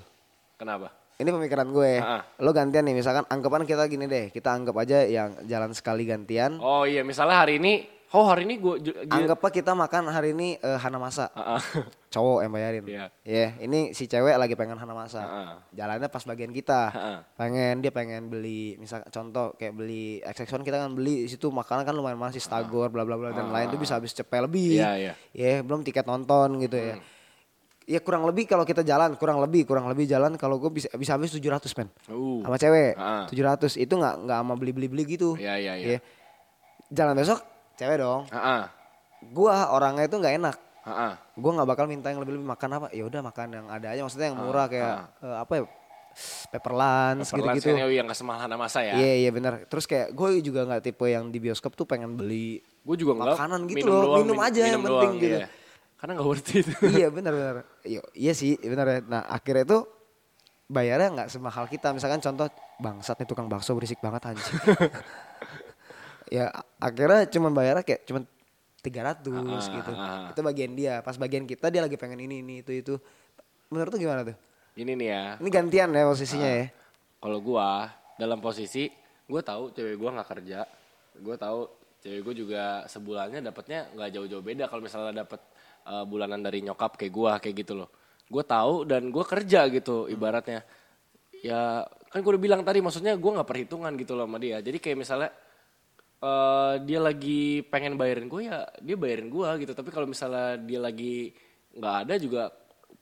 S2: kenapa
S1: Ini pemikiran gue.
S2: Ah.
S1: Lo gantian nih misalkan anggapan kita gini deh. Kita anggap aja yang jalan sekali gantian.
S2: oh iya misalnya hari ini oh hari ini gue
S1: Anggaplah kita makan hari ini eh, Hana Masa. Cowok yang bayarin.
S2: Iya.
S1: Iya, ini si cewek lagi pengen Hana Masa.
S2: Ah.
S1: Jalannya pas bagian kita.
S2: Ah.
S1: Pengen dia pengen beli misal contoh kayak beli XX1 kita kan beli di situ makanan kan lumayan masih stagor bla bla bla dan lain itu bisa habis cepet lebih.
S2: Iya, iya. Hmm.
S1: Ya, belum tiket nonton gitu ya. Ya kurang lebih kalau kita jalan, kurang lebih, kurang lebih jalan kalau gue bisa bisa habis 700 men.
S2: Uh.
S1: Sama cewek.
S2: Ah.
S1: 700 itu nggak nggak sama beli-beli-beli gitu.
S2: Iya, iya, iya.
S1: Jalan besok cewek dong.
S2: Ah, ah.
S1: gua orangnya itu nggak enak.
S2: Heeh.
S1: Gua nggak bakal minta yang lebih-lebih makan apa. Ya udah makan yang ada aja maksudnya yang murah kayak eh, apa ya? Pepperlans gitu-gitu.
S2: Perlansnya yang kesemalahan sama saya.
S1: Iya iya benar. Terus kayak gue juga nggak tipe yang di bioskop tuh pengen beli
S2: Gue juga enggak.
S1: Makanan gitu loh, minum aja yang penting gitu.
S2: iya. Karena gak worth it.
S1: iya benar-benar. Iya, iya sih benar ya. Nah akhirnya itu bayarnya nggak semahal kita. Misalkan contoh bangsat nih tukang bakso berisik banget anjing. ya a- akhirnya cuman bayarnya kayak cuman 300 gitu.
S2: ah.
S1: Itu bagian dia. Pas bagian kita dia lagi pengen ini ini itu itu. Menurut tuh gimana tuh?
S2: Ini nih ya.
S1: Ini gantian ya posisinya
S2: Ah.
S1: ya.
S2: Kalau gua dalam posisi gue tahu cewek gua nggak kerja, gue tahu cewek gue juga sebulannya dapatnya nggak jauh-jauh beda kalau misalnya dapat eh, bulanan dari nyokap kayak gua kayak gitu loh. Gue tahu dan gue kerja gitu ibaratnya. Ya kan gue udah bilang tadi maksudnya gua nggak perhitungan gitu loh sama dia. Jadi kayak misalnya eh, dia lagi pengen bayarin gue ya dia bayarin gua gitu. Tapi kalau misalnya dia lagi nggak ada juga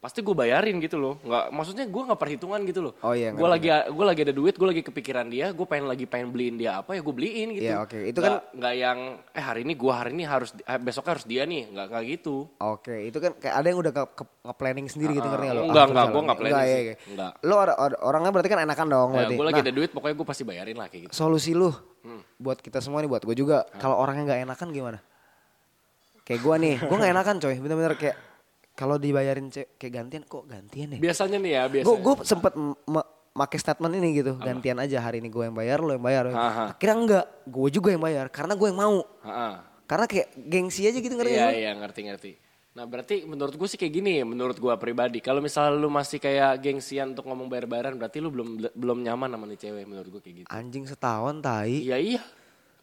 S2: pasti gue bayarin gitu loh. Nggak maksudnya gua nggak perhitungan gitu loh
S1: Oh iya,
S2: gue lagi gue lagi ada duit gue lagi kepikiran dia gue pengen lagi pengen beliin dia apa ya gue beliin gitu
S1: Iya, oke. Itu
S2: Nggak- nggak yang eh hari ini gue hari ini harus eh, besoknya harus dia nih nggak nggak gitu
S1: Oke, itu kan kayak ada yang udah ke- ke- nge-planning sendiri gitu ngerti nggak lo?
S2: Enggak,
S1: Ah,
S2: enggak,
S1: calon
S2: gua nggak
S1: ini.
S2: planning
S1: Enggak,
S2: sih.
S1: iya, iya.
S2: Enggak.
S1: Lo or- or- orangnya berarti kan enakan dong berarti.
S2: gue lagi
S1: Nah,
S2: ada duit pokoknya gue pasti bayarin lah kayak gitu
S1: solusi lu
S2: Hmm.
S1: buat kita semua nih buat gue juga
S2: Ah.
S1: kalau orangnya nggak enakan gimana kayak gue nih gue nggak enakan coy bener-bener kayak kalau dibayarin ce- kayak gantian kok gantian ya
S2: biasanya nih ya
S1: gue
S2: biasanya
S1: gue sempet m- me- make statement ini gitu gantian aja hari ini gue yang bayar lo yang bayar lo yang-
S2: Aha.
S1: akhirnya enggak gue juga yang bayar karena gue yang mau
S2: Heeh.
S1: karena kayak gengsi aja gitu ngerti
S2: iya
S1: nggak lo?
S2: iya ngerti ngerti nah berarti menurut gue sih kayak gini menurut gue pribadi kalau misalnya lu masih kayak gengsian untuk ngomong bayar bayaran berarti lu belum belum nyaman sama nih cewek menurut gue kayak gitu
S1: anjing setahun tai
S2: Iya iya.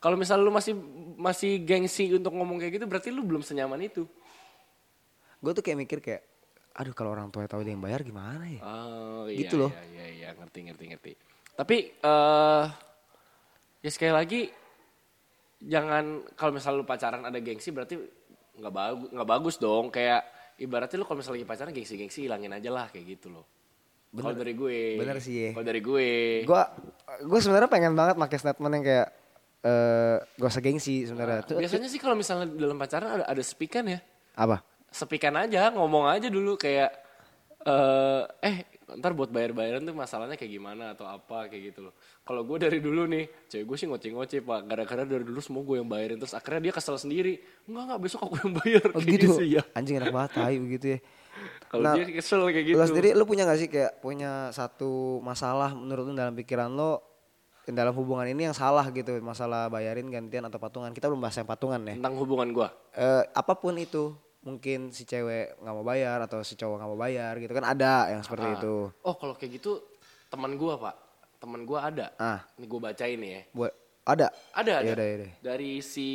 S2: Kalau misalnya lu masih masih gengsi untuk ngomong kayak gitu berarti lu belum senyaman itu.
S1: gue tuh kayak mikir kayak aduh kalau orang tua tahu dia yang bayar gimana ya
S2: Oh iya.
S1: Gitu loh.
S2: Iya iya, iya. ngerti ngerti ngerti. Tapi eh ya sekali lagi jangan kalau misalnya lu pacaran ada gengsi berarti nggak bagus nggak bagus dong kayak ibaratnya lu kalau misalnya lagi pacaran gengsi-gengsi hilangin aja lah kayak gitu loh. Kalau dari gue.
S1: Bener sih, ya.
S2: Kalau dari gue.
S1: gue gue sebenarnya pengen banget pakai statement yang kayak eh gak usah gengsi
S2: Ah.
S1: sebenarnya tuh
S2: Biasanya sih kalau misalnya dalam pacaran ada ada speakan ya.
S1: apa
S2: sepikan aja ngomong aja dulu kayak eh eh ntar buat bayar bayaran tuh masalahnya kayak gimana atau apa kayak gitu loh kalau gue dari dulu nih cewek gue sih ngoceh ngoceh pak gara-gara dari dulu semua gue yang bayarin terus akhirnya dia kesel sendiri enggak enggak besok aku yang bayar
S1: oh,
S2: kayak
S1: gitu
S2: sih, ya
S1: anjing enak banget tai begitu ya
S2: kalau
S1: Nah,
S2: dia kesel kayak gitu
S1: lo sendiri lo punya gak sih kayak punya satu masalah menurut lo dalam pikiran lo dalam hubungan ini yang salah gitu masalah bayarin gantian atau patungan kita belum bahas yang patungan ya
S2: tentang hubungan gue
S1: Eh, apapun itu mungkin si cewek nggak mau bayar atau si cowok nggak mau bayar gitu kan ada yang seperti itu
S2: oh kalau kayak gitu teman gue pak teman gue ada
S1: Ah.
S2: ini gue bacain nih ya
S1: buat ada
S2: ada Iya, ada
S1: Yaudah, yaudah.
S2: dari si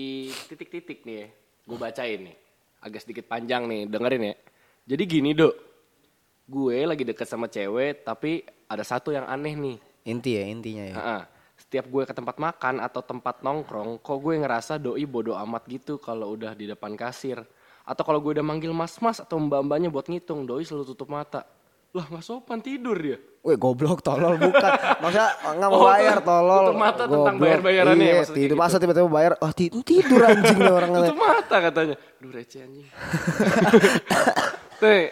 S2: titik-titik nih ya. gue bacain nih agak sedikit panjang nih dengerin ya jadi gini dok gue lagi deket sama cewek tapi ada satu yang aneh nih
S1: inti ya intinya ya
S2: Ha-ha. setiap gue ke tempat makan atau tempat nongkrong kok gue ngerasa doi bodoh amat gitu kalau udah di depan kasir atau kalau gue udah manggil mas-mas atau mbak-mbaknya buat ngitung doi selalu tutup mata lah nggak sopan tidur dia
S1: Weh goblok tolol bukan. Maksudnya nggak mau
S2: Oh,
S1: bayar tolol.
S2: tutup mata tentang
S1: Goblok.
S2: bayar-bayarannya ya,
S1: Iya,
S2: maksudnya
S1: tidur
S2: gitu.
S1: masa tiba-tiba bayar. Wah ti- tidur anjing nih orang
S2: tutup mata katanya duh receh anjing Tuh,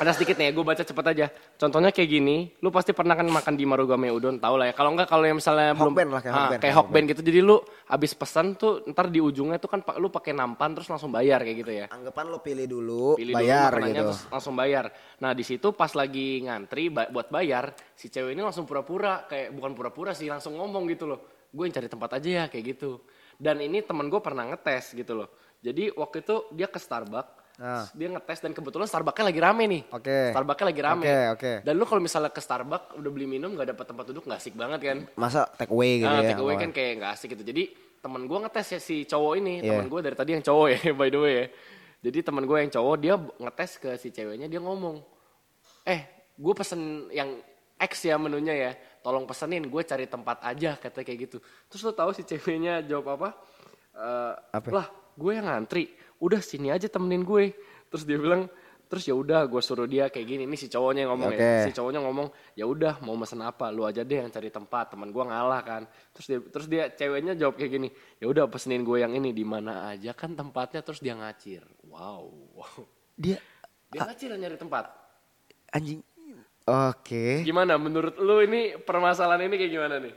S2: ada sedikit nih gue baca cepet aja contohnya kayak gini lu pasti pernah kan makan di Marugame Udon tau lah ya kalau enggak kalau yang misalnya belum
S1: Hokben lah, kayak
S2: Ah,
S1: hokben,
S2: kayak
S1: kayak
S2: hokben gitu jadi lu abis pesan tuh ntar di ujungnya tuh kan pa- lu pakai nampan terus langsung bayar kayak gitu ya
S1: Anggapan lo pilih dulu,
S2: pilih
S1: bayar
S2: dulu makanannya
S1: gitu.
S2: terus langsung bayar. Nah di situ pas lagi ngantri ba- buat bayar, si cewek ini langsung pura-pura kayak bukan pura-pura sih langsung ngomong gitu loh. Gue yang cari tempat aja ya kayak gitu. Dan ini teman gue pernah ngetes gitu loh. Jadi waktu itu dia ke Starbucks,
S1: Ah.
S2: dia ngetes dan kebetulan Starbucksnya lagi rame nih.
S1: Oke.
S2: Starbucksnya lagi rame.
S1: Oke, oke.
S2: Dan lu kalau misalnya ke Starbucks udah beli minum gak dapet tempat duduk gak asik banget kan?
S1: Masa take away gitu
S2: Ah,
S1: ya.
S2: take away
S1: awal.
S2: kan kayak nggak asik gitu. Jadi teman gue ngetes ya si cowok ini,
S1: Iya.
S2: teman gue dari tadi yang cowok ya by the way ya. Jadi teman gue yang cowok dia b- ngetes ke si ceweknya dia ngomong, eh gue pesen yang X ya menunya ya, tolong pesenin gue cari tempat aja kata kayak gitu. Terus lo tahu si ceweknya jawab apa? Eh,
S1: Apa?
S2: Lah gue yang ngantri, udah sini aja temenin gue. Terus dia bilang terus ya udah gue suruh dia kayak gini ini si cowoknya yang ngomong ya
S1: Oke.
S2: si cowoknya ngomong ya udah mau mesen apa lu aja deh yang cari tempat teman gue ngalah kan terus dia terus dia ceweknya jawab kayak gini ya udah pesenin gue yang ini di mana aja kan tempatnya terus dia ngacir wow wow.
S1: Dia Ah.
S2: dia ngacir nyari tempat
S1: anjing. Oke.
S2: gimana menurut lu ini permasalahan ini kayak gimana nih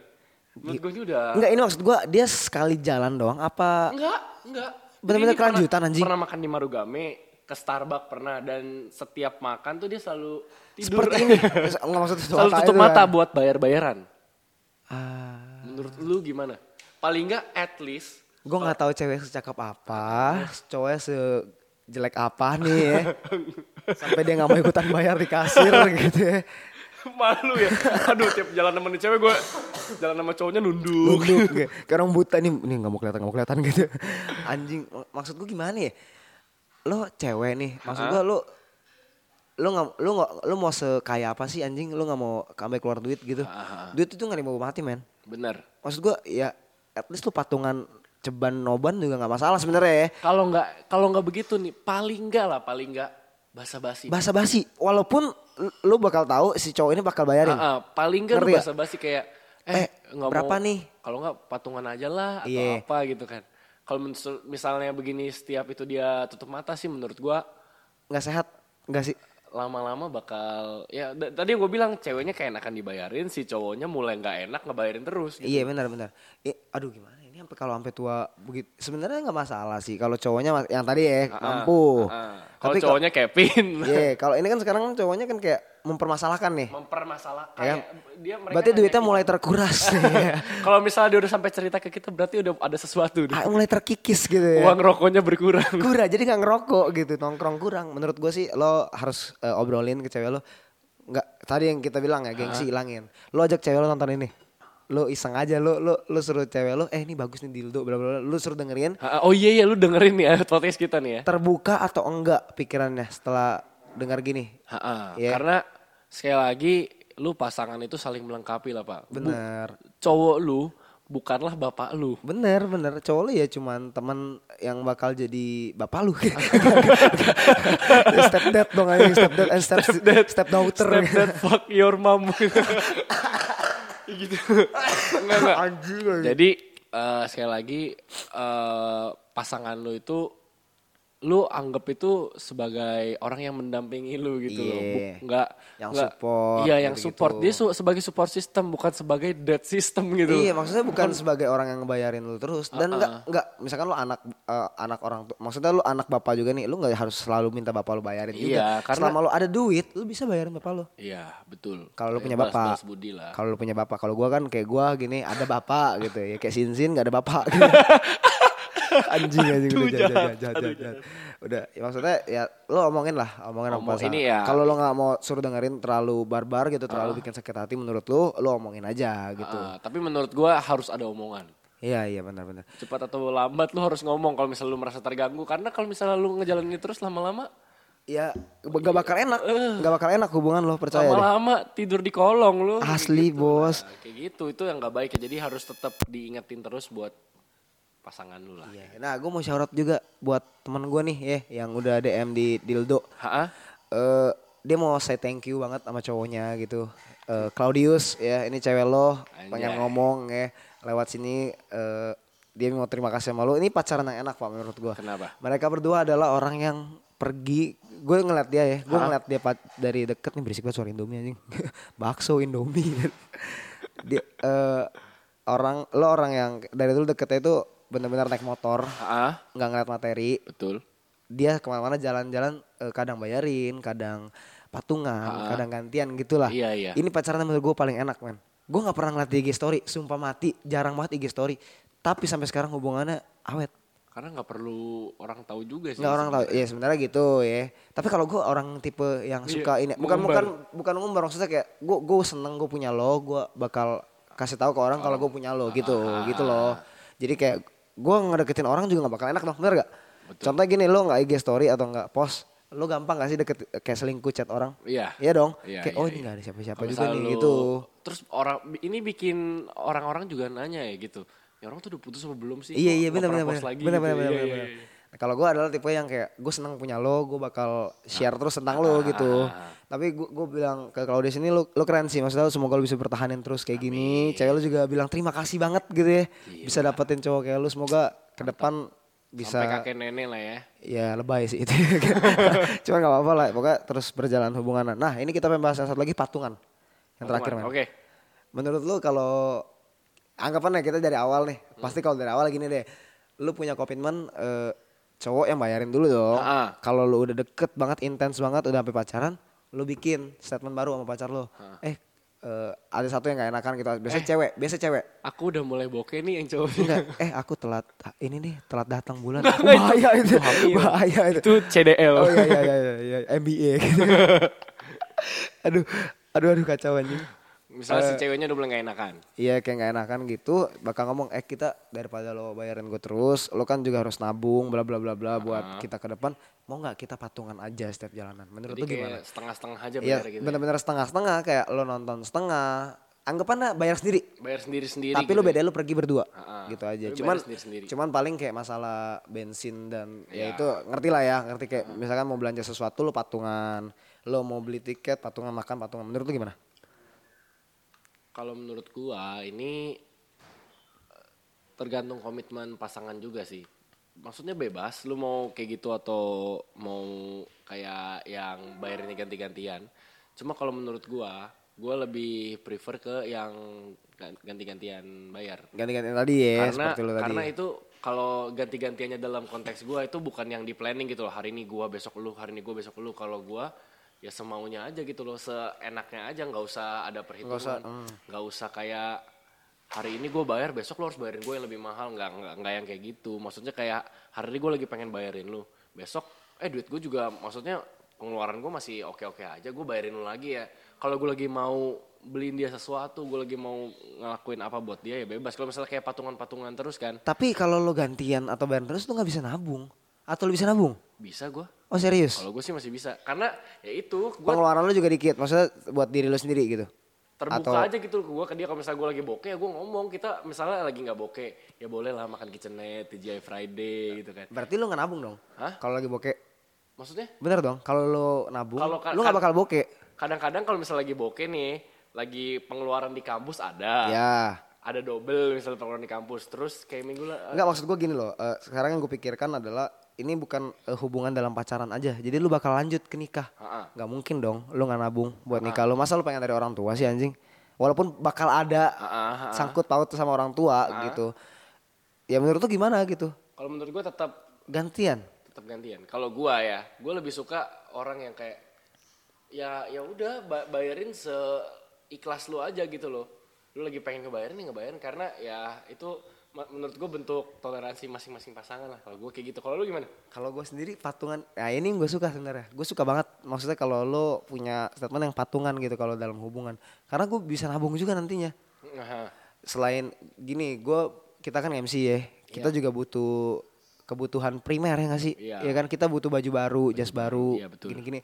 S2: menurut gue ini udah
S1: Enggak ini maksud gua dia sekali jalan doang apa
S2: Enggak, enggak. Jadi
S1: Bener-bener
S2: ini pernah-
S1: kelanjutan, anjing.
S2: Pernah makan di Marugame, ke Starbucks pernah dan setiap makan tuh dia selalu tidur.
S1: seperti ini? Enggak maksud mata
S2: selalu tutup
S1: itu kan.
S2: mata buat bayar-bayaran.
S1: Ah,
S2: Menurut lu gimana? Paling enggak at least
S1: gua nggak tahu cewek secakap apa, cowoknya sejelek apa nih ya. Sampai dia nggak mau ikutan bayar di kasir gitu ya.
S2: malu ya. Aduh, tiap jalan sama nih cewek gue jalan sama cowoknya nunduk.
S1: Nunduk kayak kayak orang buta nih, nih nggak mau kelihatan nggak mau kelihatan gitu. Anjing, maksud gua gimana ya? Lo cewek nih, maksud gua lo lo nggak lo nggak lo mau sekaya apa sih anjing lo nggak mau sampai keluar duit gitu
S2: Ah,
S1: duit itu nggak dibawa mati men
S2: Bener.
S1: maksud gua ya at least lu patungan ceban noban juga nggak masalah sebenarnya ya.
S2: Kalau enggak kalau enggak begitu nih, paling enggak lah, paling enggak basa-basi.
S1: basa basi walaupun lu- lu bakal tahu si cowok ini bakal bayarin
S2: Ah, ah, paling enggak lu
S1: Ngerti gak?
S2: basa-basi kayak
S1: Eh,
S2: eh, nggak
S1: berapa
S2: mau-
S1: nih?
S2: Kalau enggak patungan aja lah atau
S1: Iya.
S2: apa gitu kan. Kalau mensu- misalnya begini setiap itu dia tutup mata sih menurut gua
S1: nggak sehat nggak sih
S2: lama-lama bakal ya da- tadi gue bilang ceweknya kayak enakan dibayarin si cowoknya mulai nggak enak ngebayarin terus gitu.
S1: iya benar benar I- aduh gimana ini sampai kalau sampai tua begitu sebenarnya nggak masalah sih kalau cowoknya ma- yang tadi ya mampu
S2: Ah, kalau
S1: tapi kalau
S2: cowoknya Kevin
S1: iya, kalau ini kan sekarang cowoknya kan kayak mempermasalahkan nih
S2: mempermasalahkan
S1: Ya kan?
S2: ya, dia mereka
S1: berarti
S2: nanya gitu.
S1: duitnya
S2: kita-
S1: mulai terkuras nih. ya.
S2: kalau misalnya dia udah sampai cerita ke kita berarti udah ada sesuatu nih.
S1: Ah, mulai terkikis gitu ya
S2: uang rokoknya berkurang
S1: kurang jadi nggak ngerokok gitu nongkrong kurang menurut gue sih lo harus eh, obrolin ke cewek lo nggak tadi yang kita bilang ya gengsi hilangin lo ajak cewek lo nonton ini lo iseng aja lo lo lo suruh cewek lo eh ini bagus nih dildo bla bla bla lo suruh dengerin
S2: Ah, ah, oh iya iya lu dengerin nih ya podcast kita nih ya
S1: terbuka atau enggak pikirannya setelah dengar gini
S2: Ha-ha,
S1: Iya.
S2: Ah, Karena sekali lagi lu pasangan itu saling melengkapi lah pak. Bu-
S1: bener
S2: cowok lu bukanlah bapak lu.
S1: bener bener cowok lo ya cuman teman yang bakal jadi bapak lu step dad dong aja step dad and step step, daughter
S2: Step dad fuck your mom. gitu. Enggak, enggak.
S1: anjing anjing.
S2: Jadi eh, sekali lagi eh, pasangan lu itu lu anggap itu sebagai orang yang mendampingi lu gitu loh. Bu-
S1: Iya.
S2: Enggak
S1: Yang
S2: enggak-
S1: support,
S2: Iya, yang
S1: gitu-gitu.
S2: support. Dia su- sebagai support system bukan sebagai dead system gitu.
S1: Iya, maksudnya bukan sebagai orang yang ngebayarin lu terus dan enggak enggak misalkan lu anak eh, anak orang tu- maksudnya lu anak bapak juga nih, lu nggak harus selalu minta bapak lu bayarin juga.
S2: Iya, karena-
S1: Selama lu ada duit, lu bisa bayarin bapak lu.
S2: Iya, betul.
S1: Kalau lu
S2: Ya,
S1: punya
S2: balas-
S1: bapak.
S2: balas budi lah.
S1: Kalau lu punya bapak, kalau gua kan kayak gua gini, ada bapak gitu ya. Kayak Sinsin nggak ada bapak gitu. anjing anjing udah
S2: Aduh,
S1: jahat jahat
S2: jahat,
S1: jahat,
S2: aduh,
S1: jahat, jahat. Udah, ya maksudnya ya lu omongin lah, omongin sama
S2: Omong-
S1: pasangan.
S2: ini ya.
S1: Kalau lu nggak mau suruh dengerin terlalu barbar gitu, terlalu bikin sakit hati menurut lu, lu omongin aja gitu.
S2: Ah, tapi menurut gua harus ada omongan.
S1: Iya, iya benar-benar.
S2: Cepat atau lambat lu harus ngomong kalau misalnya lu merasa terganggu karena kalau misalnya lu ngejalanin terus lama-lama
S1: Ya gak bakal
S2: Iya.
S1: enak,
S2: Eh.
S1: gak bakal enak hubungan lo percaya deh.
S2: lama-lama tidur di kolong lu.
S1: Asli bos.
S2: Nah, kayak gitu itu yang nggak baik ya. Jadi harus tetap diingetin terus buat pasangan lu lah.
S1: Iya. Nah gue mau shout out juga buat teman gue nih ya yang udah DM di Dildo.
S2: Ha-ah.
S1: Eh dia mau say thank you banget sama cowoknya gitu. Eh Claudius ya ini cewek lo pengen
S2: Anjay.
S1: ngomong ya lewat sini eh dia mau terima kasih sama lo. Ini pacaran yang enak pak menurut gue.
S2: Kenapa?
S1: Mereka berdua adalah orang yang pergi gue ngeliat dia ya gue ngeliat dia pat- dari deket nih berisik banget suara indomie anjing bakso indomie dia eh, orang lo orang yang dari dulu deketnya itu benar-benar naik motor
S2: Ha-ah.
S1: nggak ngeliat materi
S2: Betul.
S1: dia kemana-mana jalan-jalan eh, kadang bayarin kadang patungan kadang gantian gitulah
S2: Ah. Iya, iya.
S1: ini pacaran menurut gue paling enak men gue nggak pernah ngeliat di IG story sumpah mati jarang banget IG story tapi sampai sekarang hubungannya awet
S2: Karena nggak perlu orang tahu juga sih.
S1: Nggak orang tahu. Ya sebenarnya gitu ya. Tapi kalau gue orang tipe
S2: Iya,
S1: yang suka ini bukan bukan bukan ngumbar maksudnya kayak gue gue seneng gue punya lo, gue bakal kasih tahu ke orang kalau gue punya lo gitu,
S2: Ah.
S1: gitu loh. Jadi kayak gue ngedeketin orang juga nggak bakal enak dong, bener gak? Contoh gini lo nggak IG story atau nggak post, lo gampang gak sih deket kayak selingkuh chat orang?
S2: Iya.
S1: Iya dong.
S2: Iya,
S1: kayak
S2: iya,
S1: oh ini
S2: iya.
S1: nggak ada siapa-siapa
S2: Kalau
S1: juga
S2: misalnya
S1: nih
S2: lu-
S1: gitu.
S2: Terus orang ini bikin orang-orang juga nanya ya gitu. Ya orang tuh udah putus apa belum sih?
S1: Iya
S2: Kok
S1: iya
S2: nggak
S1: benar benar
S2: pernah
S1: benar
S2: post lagi
S1: benar
S2: gitu.
S1: benar
S2: Iya,
S1: benar.
S2: iya,
S1: benar.
S2: iya.
S1: Kalau gue adalah tipe yang kayak gue senang punya lo, gue bakal share terus tentang lo gitu. Tapi gue gue bilang ke Claudius ini lo lo keren sih, maksudnya lu semoga lo bisa bertahanin terus kayak gini. Cewek lo juga bilang terima kasih banget gitu ya, bisa dapetin cowok kayak lo. Semoga ke depan bisa
S2: Sampai kakek nenek lah ya.
S1: Ya lebay sih itu. Cuma nggak apa-apa lah. Pokoknya terus berjalan hubungan. Nah ini kita pengen bahas yang satu lagi patungan. Yang terakhir men.
S2: Oke.
S1: Menurut lu kalau anggapannya kita dari awal nih. Pasti kalau dari awal gini deh. Lu punya komitmen eh, cowok yang bayarin dulu dong.
S2: Ha-ha.
S1: Kalau lu udah deket banget, intens banget, udah sampai pacaran, lu bikin statement baru sama pacar lu. Eh eh, ada satu yang gak enakan gitu. Biasanya cewek, biasa cewek.
S2: Aku udah mulai bokeh nih yang cowok.
S1: Enggak, eh aku telat ini nih telat datang bulan. bahaya itu. Bahaya itu.
S2: Itu CDL.
S1: Oh iya iya iya iya, iya MBA gitu. aduh, aduh aduh kacau anjing.
S2: Misalnya
S1: Eh.
S2: si ceweknya udah mulai gak enakan.
S1: Iya kayak nggak enakan gitu, bakal ngomong eh kita daripada lo bayarin gue terus, lo kan juga harus nabung bla bla bla bla buat kita ke depan. Mau nggak kita patungan aja setiap jalanan? Menurut
S2: Jadi
S1: lo gimana?
S2: kayak setengah-setengah aja
S1: Iya,
S2: bayar gitu. ya.
S1: bener-bener setengah-setengah kayak lo nonton setengah. Anggapannya bayar sendiri,
S2: Bayar sendiri-sendiri.
S1: tapi
S2: gitu.
S1: lu beda lu pergi berdua
S2: Ah, ah.
S1: gitu aja
S2: Tapi
S1: cuman
S2: bayar sendiri-sendiri.
S1: cuman paling kayak masalah bensin dan
S2: Iya.
S1: ya itu ngerti lah ya ngerti kayak misalkan mau belanja sesuatu lu patungan lu mau beli tiket patungan makan patungan menurut lu gimana
S2: Kalau menurut gua ini eh, tergantung komitmen pasangan juga sih. Maksudnya bebas, lu mau kayak gitu atau mau kayak yang bayarnya ganti-gantian. Cuma kalau menurut gua, gua lebih prefer ke yang gan- ganti-gantian bayar.
S1: ganti-ganti tadi ya
S2: karena
S1: seperti lu tadi
S2: karena itu kalau ganti-gantiannya dalam konteks gua itu bukan yang di planning gitu loh hari ini gua besok lu hari ini gua besok lu kalau gua ya semaunya aja gitu loh seenaknya aja nggak usah ada perhitungan nggak usah, hmm. kayak hari ini gua bayar besok lo harus bayarin gue yang lebih mahal nggak nggak nggak yang kayak gitu maksudnya kayak hari ini gue lagi pengen bayarin lu besok eh duit gue juga maksudnya pengeluaran gue masih oke-oke aja gue bayarin lu lagi ya kalau gue lagi mau beliin dia sesuatu gue lagi mau ngelakuin apa buat dia ya bebas kalau misalnya kayak patungan-patungan terus kan
S1: tapi kalau lu gantian atau bayar terus lu nggak bisa nabung atau lu bisa nabung
S2: bisa gue
S1: oh serius
S2: kalau gue sih masih bisa karena ya itu gue
S1: pengeluaran lu juga dikit maksudnya buat diri lu sendiri gitu
S2: terbuka
S1: atau-
S2: aja gitu ke gue ke dia kalau misalnya gue lagi bokeh ya gue ngomong kita misalnya lagi nggak bokeh ya boleh lah makan kitchenette TGI Friday gitu kan
S1: berarti lu nggak nabung dong
S2: Hah?
S1: kalau lagi bokeh
S2: maksudnya
S1: bener dong kalau lu nabung
S2: Kalau ka-
S1: lu nggak
S2: kan-
S1: bakal bokeh
S2: kadang-kadang kalau misalnya lagi bokeh nih lagi pengeluaran di kampus ada
S1: ya
S2: ada double misalnya pengeluaran di kampus terus kayak minggu lah
S1: Enggak maksud gue gini loh. eh, sekarang yang gue pikirkan adalah ini bukan eh, hubungan dalam pacaran aja. Jadi lu bakal lanjut ke nikah.
S2: Ha-ha.
S1: Nggak mungkin dong lu nggak nabung buat nikah lu. Masa lu pengen dari orang tua sih anjing? Walaupun bakal ada
S2: Ha-ha, ha-ha.
S1: sangkut paut sama orang tua
S2: Ah.
S1: gitu. Ya menurut lu gimana gitu?
S2: kalau menurut gue tetap
S1: Gantian.
S2: tetap gantian. Kalau gua ya, gua lebih suka orang yang kayak ya ya udah ba- bayarin seikhlas lu aja gitu loh. Lu lagi pengen ngebayarin ya ngebayarin karena ya itu ma- menurut gua bentuk toleransi masing-masing pasangan lah. Kalau gua kayak gitu. Kalau lu gimana?
S1: Kalau gue sendiri patungan, nah ini gue suka sebenarnya. Gue suka banget. Maksudnya kalau lo punya statement yang patungan gitu kalau dalam hubungan. Karena gue bisa nabung juga nantinya.
S2: Aha.
S1: selain gini gue kita kan MC ya kita juga butuh kebutuhan primer ya nggak sih
S2: Iya.
S1: ya kan kita butuh baju baru jas baru
S2: iya, betul.
S1: gini-gini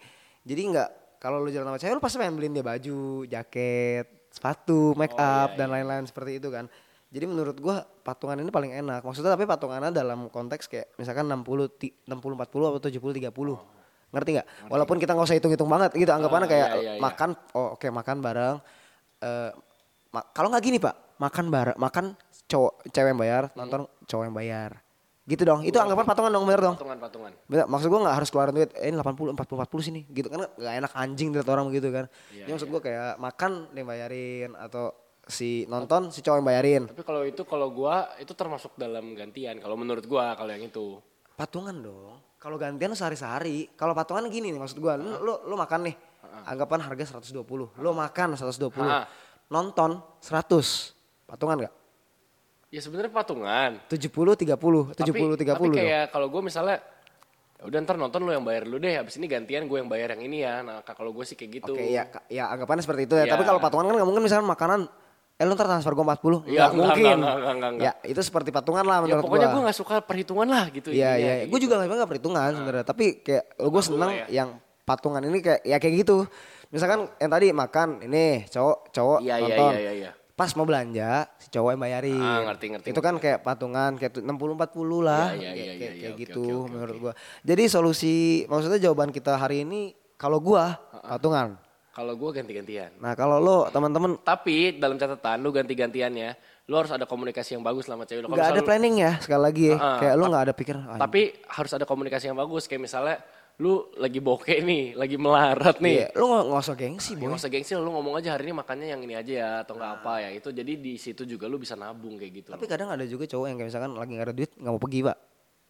S1: jadi nggak kalau lu jalan sama cewek lu pasti pengen beliin dia baju jaket sepatu
S2: Oh,
S1: make
S2: iya,
S1: up dan lain-lain seperti itu kan jadi menurut gua patungan ini paling enak maksudnya tapi patungannya dalam konteks kayak misalkan 60 ti- 60 40 atau 70 30 ngerti nggak walaupun kita nggak usah hitung-hitung banget gitu anggapannya
S2: Ah,
S1: kayak
S2: Oh. iya, iya, iya.
S1: makan oh oke makan bareng Eh, ma- kalau nggak gini pak makan bareng makan cowok cewek yang bayar nonton cowok yang bayar gitu dong itu anggapan patungan dong bener dong
S2: Patungan-patungan.
S1: Bener, maksud gue gak harus keluarin duit, eh, ini 80, 40, 40 sini gitu kan gak enak anjing dilihat orang begitu kan. Jadi maksud gue kayak makan dia bayarin atau si nonton si cowok yang bayarin.
S2: Tapi kalau itu kalau gua itu termasuk dalam gantian. Kalau menurut gua kalau yang itu.
S1: Patungan dong. Kalau gantian sehari-sehari, kalau patungan gini nih maksud gue, lu, lu, lu makan nih, anggapan harga 120, lu makan 120,
S2: Ha.
S1: nonton 100, patungan gak?
S2: Ya sebenarnya patungan.
S1: 70, 30, 70, 30
S2: tapi
S1: dong.
S2: kayak kalau gue misalnya "Ya udah ntar nonton lu yang bayar lu deh habis ini gantian gue yang bayar yang ini ya nah ka- kalau gue sih kayak gitu
S1: Oke ya, ka- ya anggapannya seperti itu ya.
S2: Ya.
S1: Tapi kalau patungan kan nggak mungkin misalnya makanan eh lu ntar transfer gue 40
S2: Iya,
S1: Nggak
S2: enggak,
S1: mungkin.
S2: enggak, enggak, enggak, enggak.
S1: Ya itu seperti patungan lah
S2: ya
S1: menurut
S2: pokoknya
S1: gua.
S2: gue nggak suka perhitungan lah gitu
S1: Iya
S2: intinya,
S1: iya,
S2: kayak
S1: gue
S2: gitu. ya?
S1: juga nggak nggak perhitungan sebenarnya. Tapi kayak gue seneng yang patungan ini kayak ya kayak gitu. Misalkan yang tadi makan ini cowok cowok
S2: Iya, iya,
S1: nonton.
S2: iya, iya, iya.
S1: pas mau belanja si cowok yang bayarin.
S2: Ah, ngerti, ngerti,
S1: Itu kan kayak patungan kayak tu- 60 40 lah.
S2: Iya, iya,
S1: kayak
S2: iya,
S1: kayak-
S2: iya,
S1: kayak
S2: oke,
S1: gitu
S2: oke, oke,
S1: menurut gua. Jadi solusi maksudnya jawaban kita hari ini kalau gua patungan.
S2: Kalau gue ganti-gantian.
S1: Nah, kalau lo teman-teman
S2: Tapi dalam catatan lu ganti-gantiannya, lu harus ada komunikasi yang bagus sama cewek lu. Kalau
S1: nggak ada
S2: misal lu-
S1: planning ya sekali lagi ya.
S2: Ah,
S1: kayak lo nggak ada pikiran. "Ah,
S2: Tapi harus ada komunikasi yang bagus. Kayak misalnya lu lagi bokeh nih, lagi
S1: iya,
S2: melarat nih.
S1: lo nggak nggak usah gengsi,
S2: Nggak
S1: boy.
S2: usah gengsi, lu ngomong aja hari ini makannya yang ini aja ya atau nggak apa ya itu. Jadi di situ juga lu bisa nabung kayak gitu.
S1: Tapi kadang ada juga cowok yang kayak misalkan lagi nggak ada duit nggak mau pergi, Pak.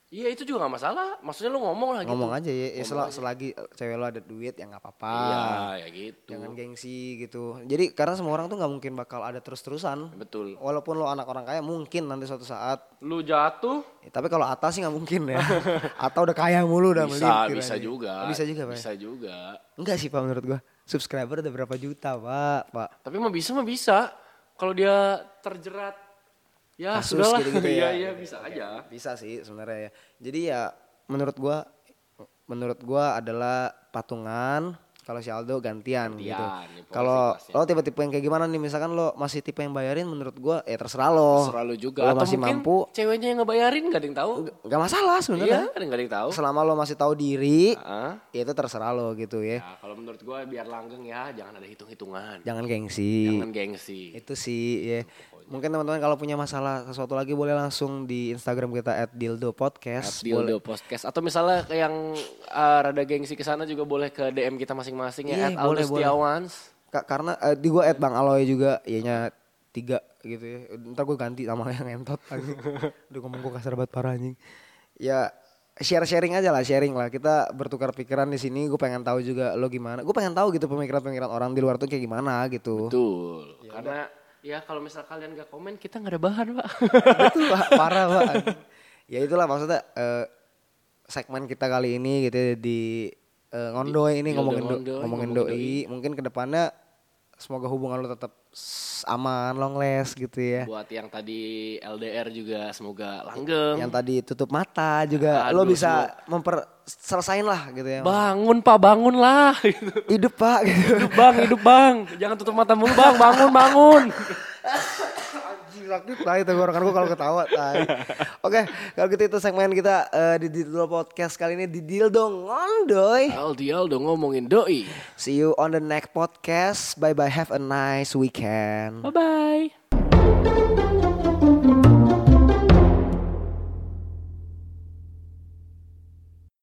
S2: Iya itu juga nggak masalah. Maksudnya lu ngomong lah gitu.
S1: Ngomong aja ya, ya sel- selagi eh, cewek lo ada duit ya nggak apa-apa.
S2: Iya, ya gitu.
S1: Jangan gengsi gitu. Jadi karena semua orang tuh nggak mungkin bakal ada terus-terusan.
S2: Betul.
S1: Walaupun lo anak orang kaya mungkin nanti suatu saat.
S2: Lu jatuh
S1: Ya, tapi kalau atas sih nggak mungkin ya. Atau udah kaya mulu udah
S2: bisa
S1: melintir
S2: bisa
S1: aja.
S2: juga.
S1: Oh, Bisa juga, Pak.
S2: Bisa juga.
S1: Enggak sih, Pak menurut gua. Subscriber ada berapa juta, Pak? Pak.
S2: Tapi mau bisa mah bisa. Kalau dia terjerat ya
S1: Kasus
S2: sudahlah.
S1: gitu-gitu ya.
S2: Iya iya bisa aja.
S1: Bisa sih sebenarnya ya. Jadi ya menurut gua menurut gua adalah patungan kalau si Aldo gantian, gitu.
S2: ya, pokoknya
S1: Kalau
S2: sekelasnya.
S1: lo tipe-tipe yang kayak gimana nih misalkan lo masih tipe yang bayarin menurut gua ya terserah lo.
S2: selalu juga
S1: Lo
S2: atau
S1: masih
S2: mungkin
S1: mampu
S2: ceweknya yang ngebayarin gak ada yang tahu
S1: nggak masalah
S2: iya
S1: sebenarnya.
S2: ada yang- gak ada yang tahu
S1: Selama lo masih tahu diri,
S2: Heeh.
S1: ya itu terserah lo gitu ya.
S2: ya, kalau menurut gue biar langgeng ya jangan ada hitung hitungan
S1: Jangan gengsi.
S2: jangan gengsi
S1: Itu sih ya. Mungkin teman-teman kalau punya masalah sesuatu lagi boleh langsung di Instagram kita @dildopodcast. Boleh-
S2: Dildo podcast atau misalnya ke yang eh, rada gengsi ke sana juga boleh ke DM kita masing-masing
S1: Iya,
S2: ya at
S1: boleh,
S2: Aldo
S1: boleh.
S2: Setiawans
S1: Ka- karena eh, di gua at Bang Aloy juga ianya tiga gitu ya. Ntar gue ganti sama yang entot lagi. Aduh ngomong gue kasar banget parah anjing. Ya share-sharing aja lah, sharing lah. Kita bertukar pikiran di sini. Gue pengen tahu juga lo gimana. Gue pengen tahu gitu pemikiran-pemikiran orang di luar tuh kayak gimana gitu.
S2: betul karena ya kalau misal kalian gak komen kita gak ada bahan pak
S1: Betul Pak, parah Pak. Ya itulah maksudnya eh, segmen kita kali ini gitu ya, di eh, ngondoy ini
S2: Dildo
S1: ngomongin do-
S2: ngondoy,
S1: ngomongin
S2: ngomongin
S1: doi. Mungkin kedepannya semoga hubungan lo tetap s- aman, long last gitu ya.
S2: buat yang tadi LDR juga semoga langgeng
S1: yang tadi tutup mata juga lo
S2: Aduh,
S1: bisa memper selesain lah gitu ya
S2: bangun pak bangun lah gitu.
S1: hidup pak gitu
S2: hidup bang hidup bang jangan tutup mata mulu bang bangun bangun
S1: Anjing, sakit lah itu tenggorokan gue kan kalau ketawa tai. oke kalau gitu itu segmen kita eh, di Dildo Podcast kali ini di Dildo Ngondoy
S2: Aldi Aldo ngomongin doi
S1: see you on the next podcast bye bye have a nice weekend
S2: bye bye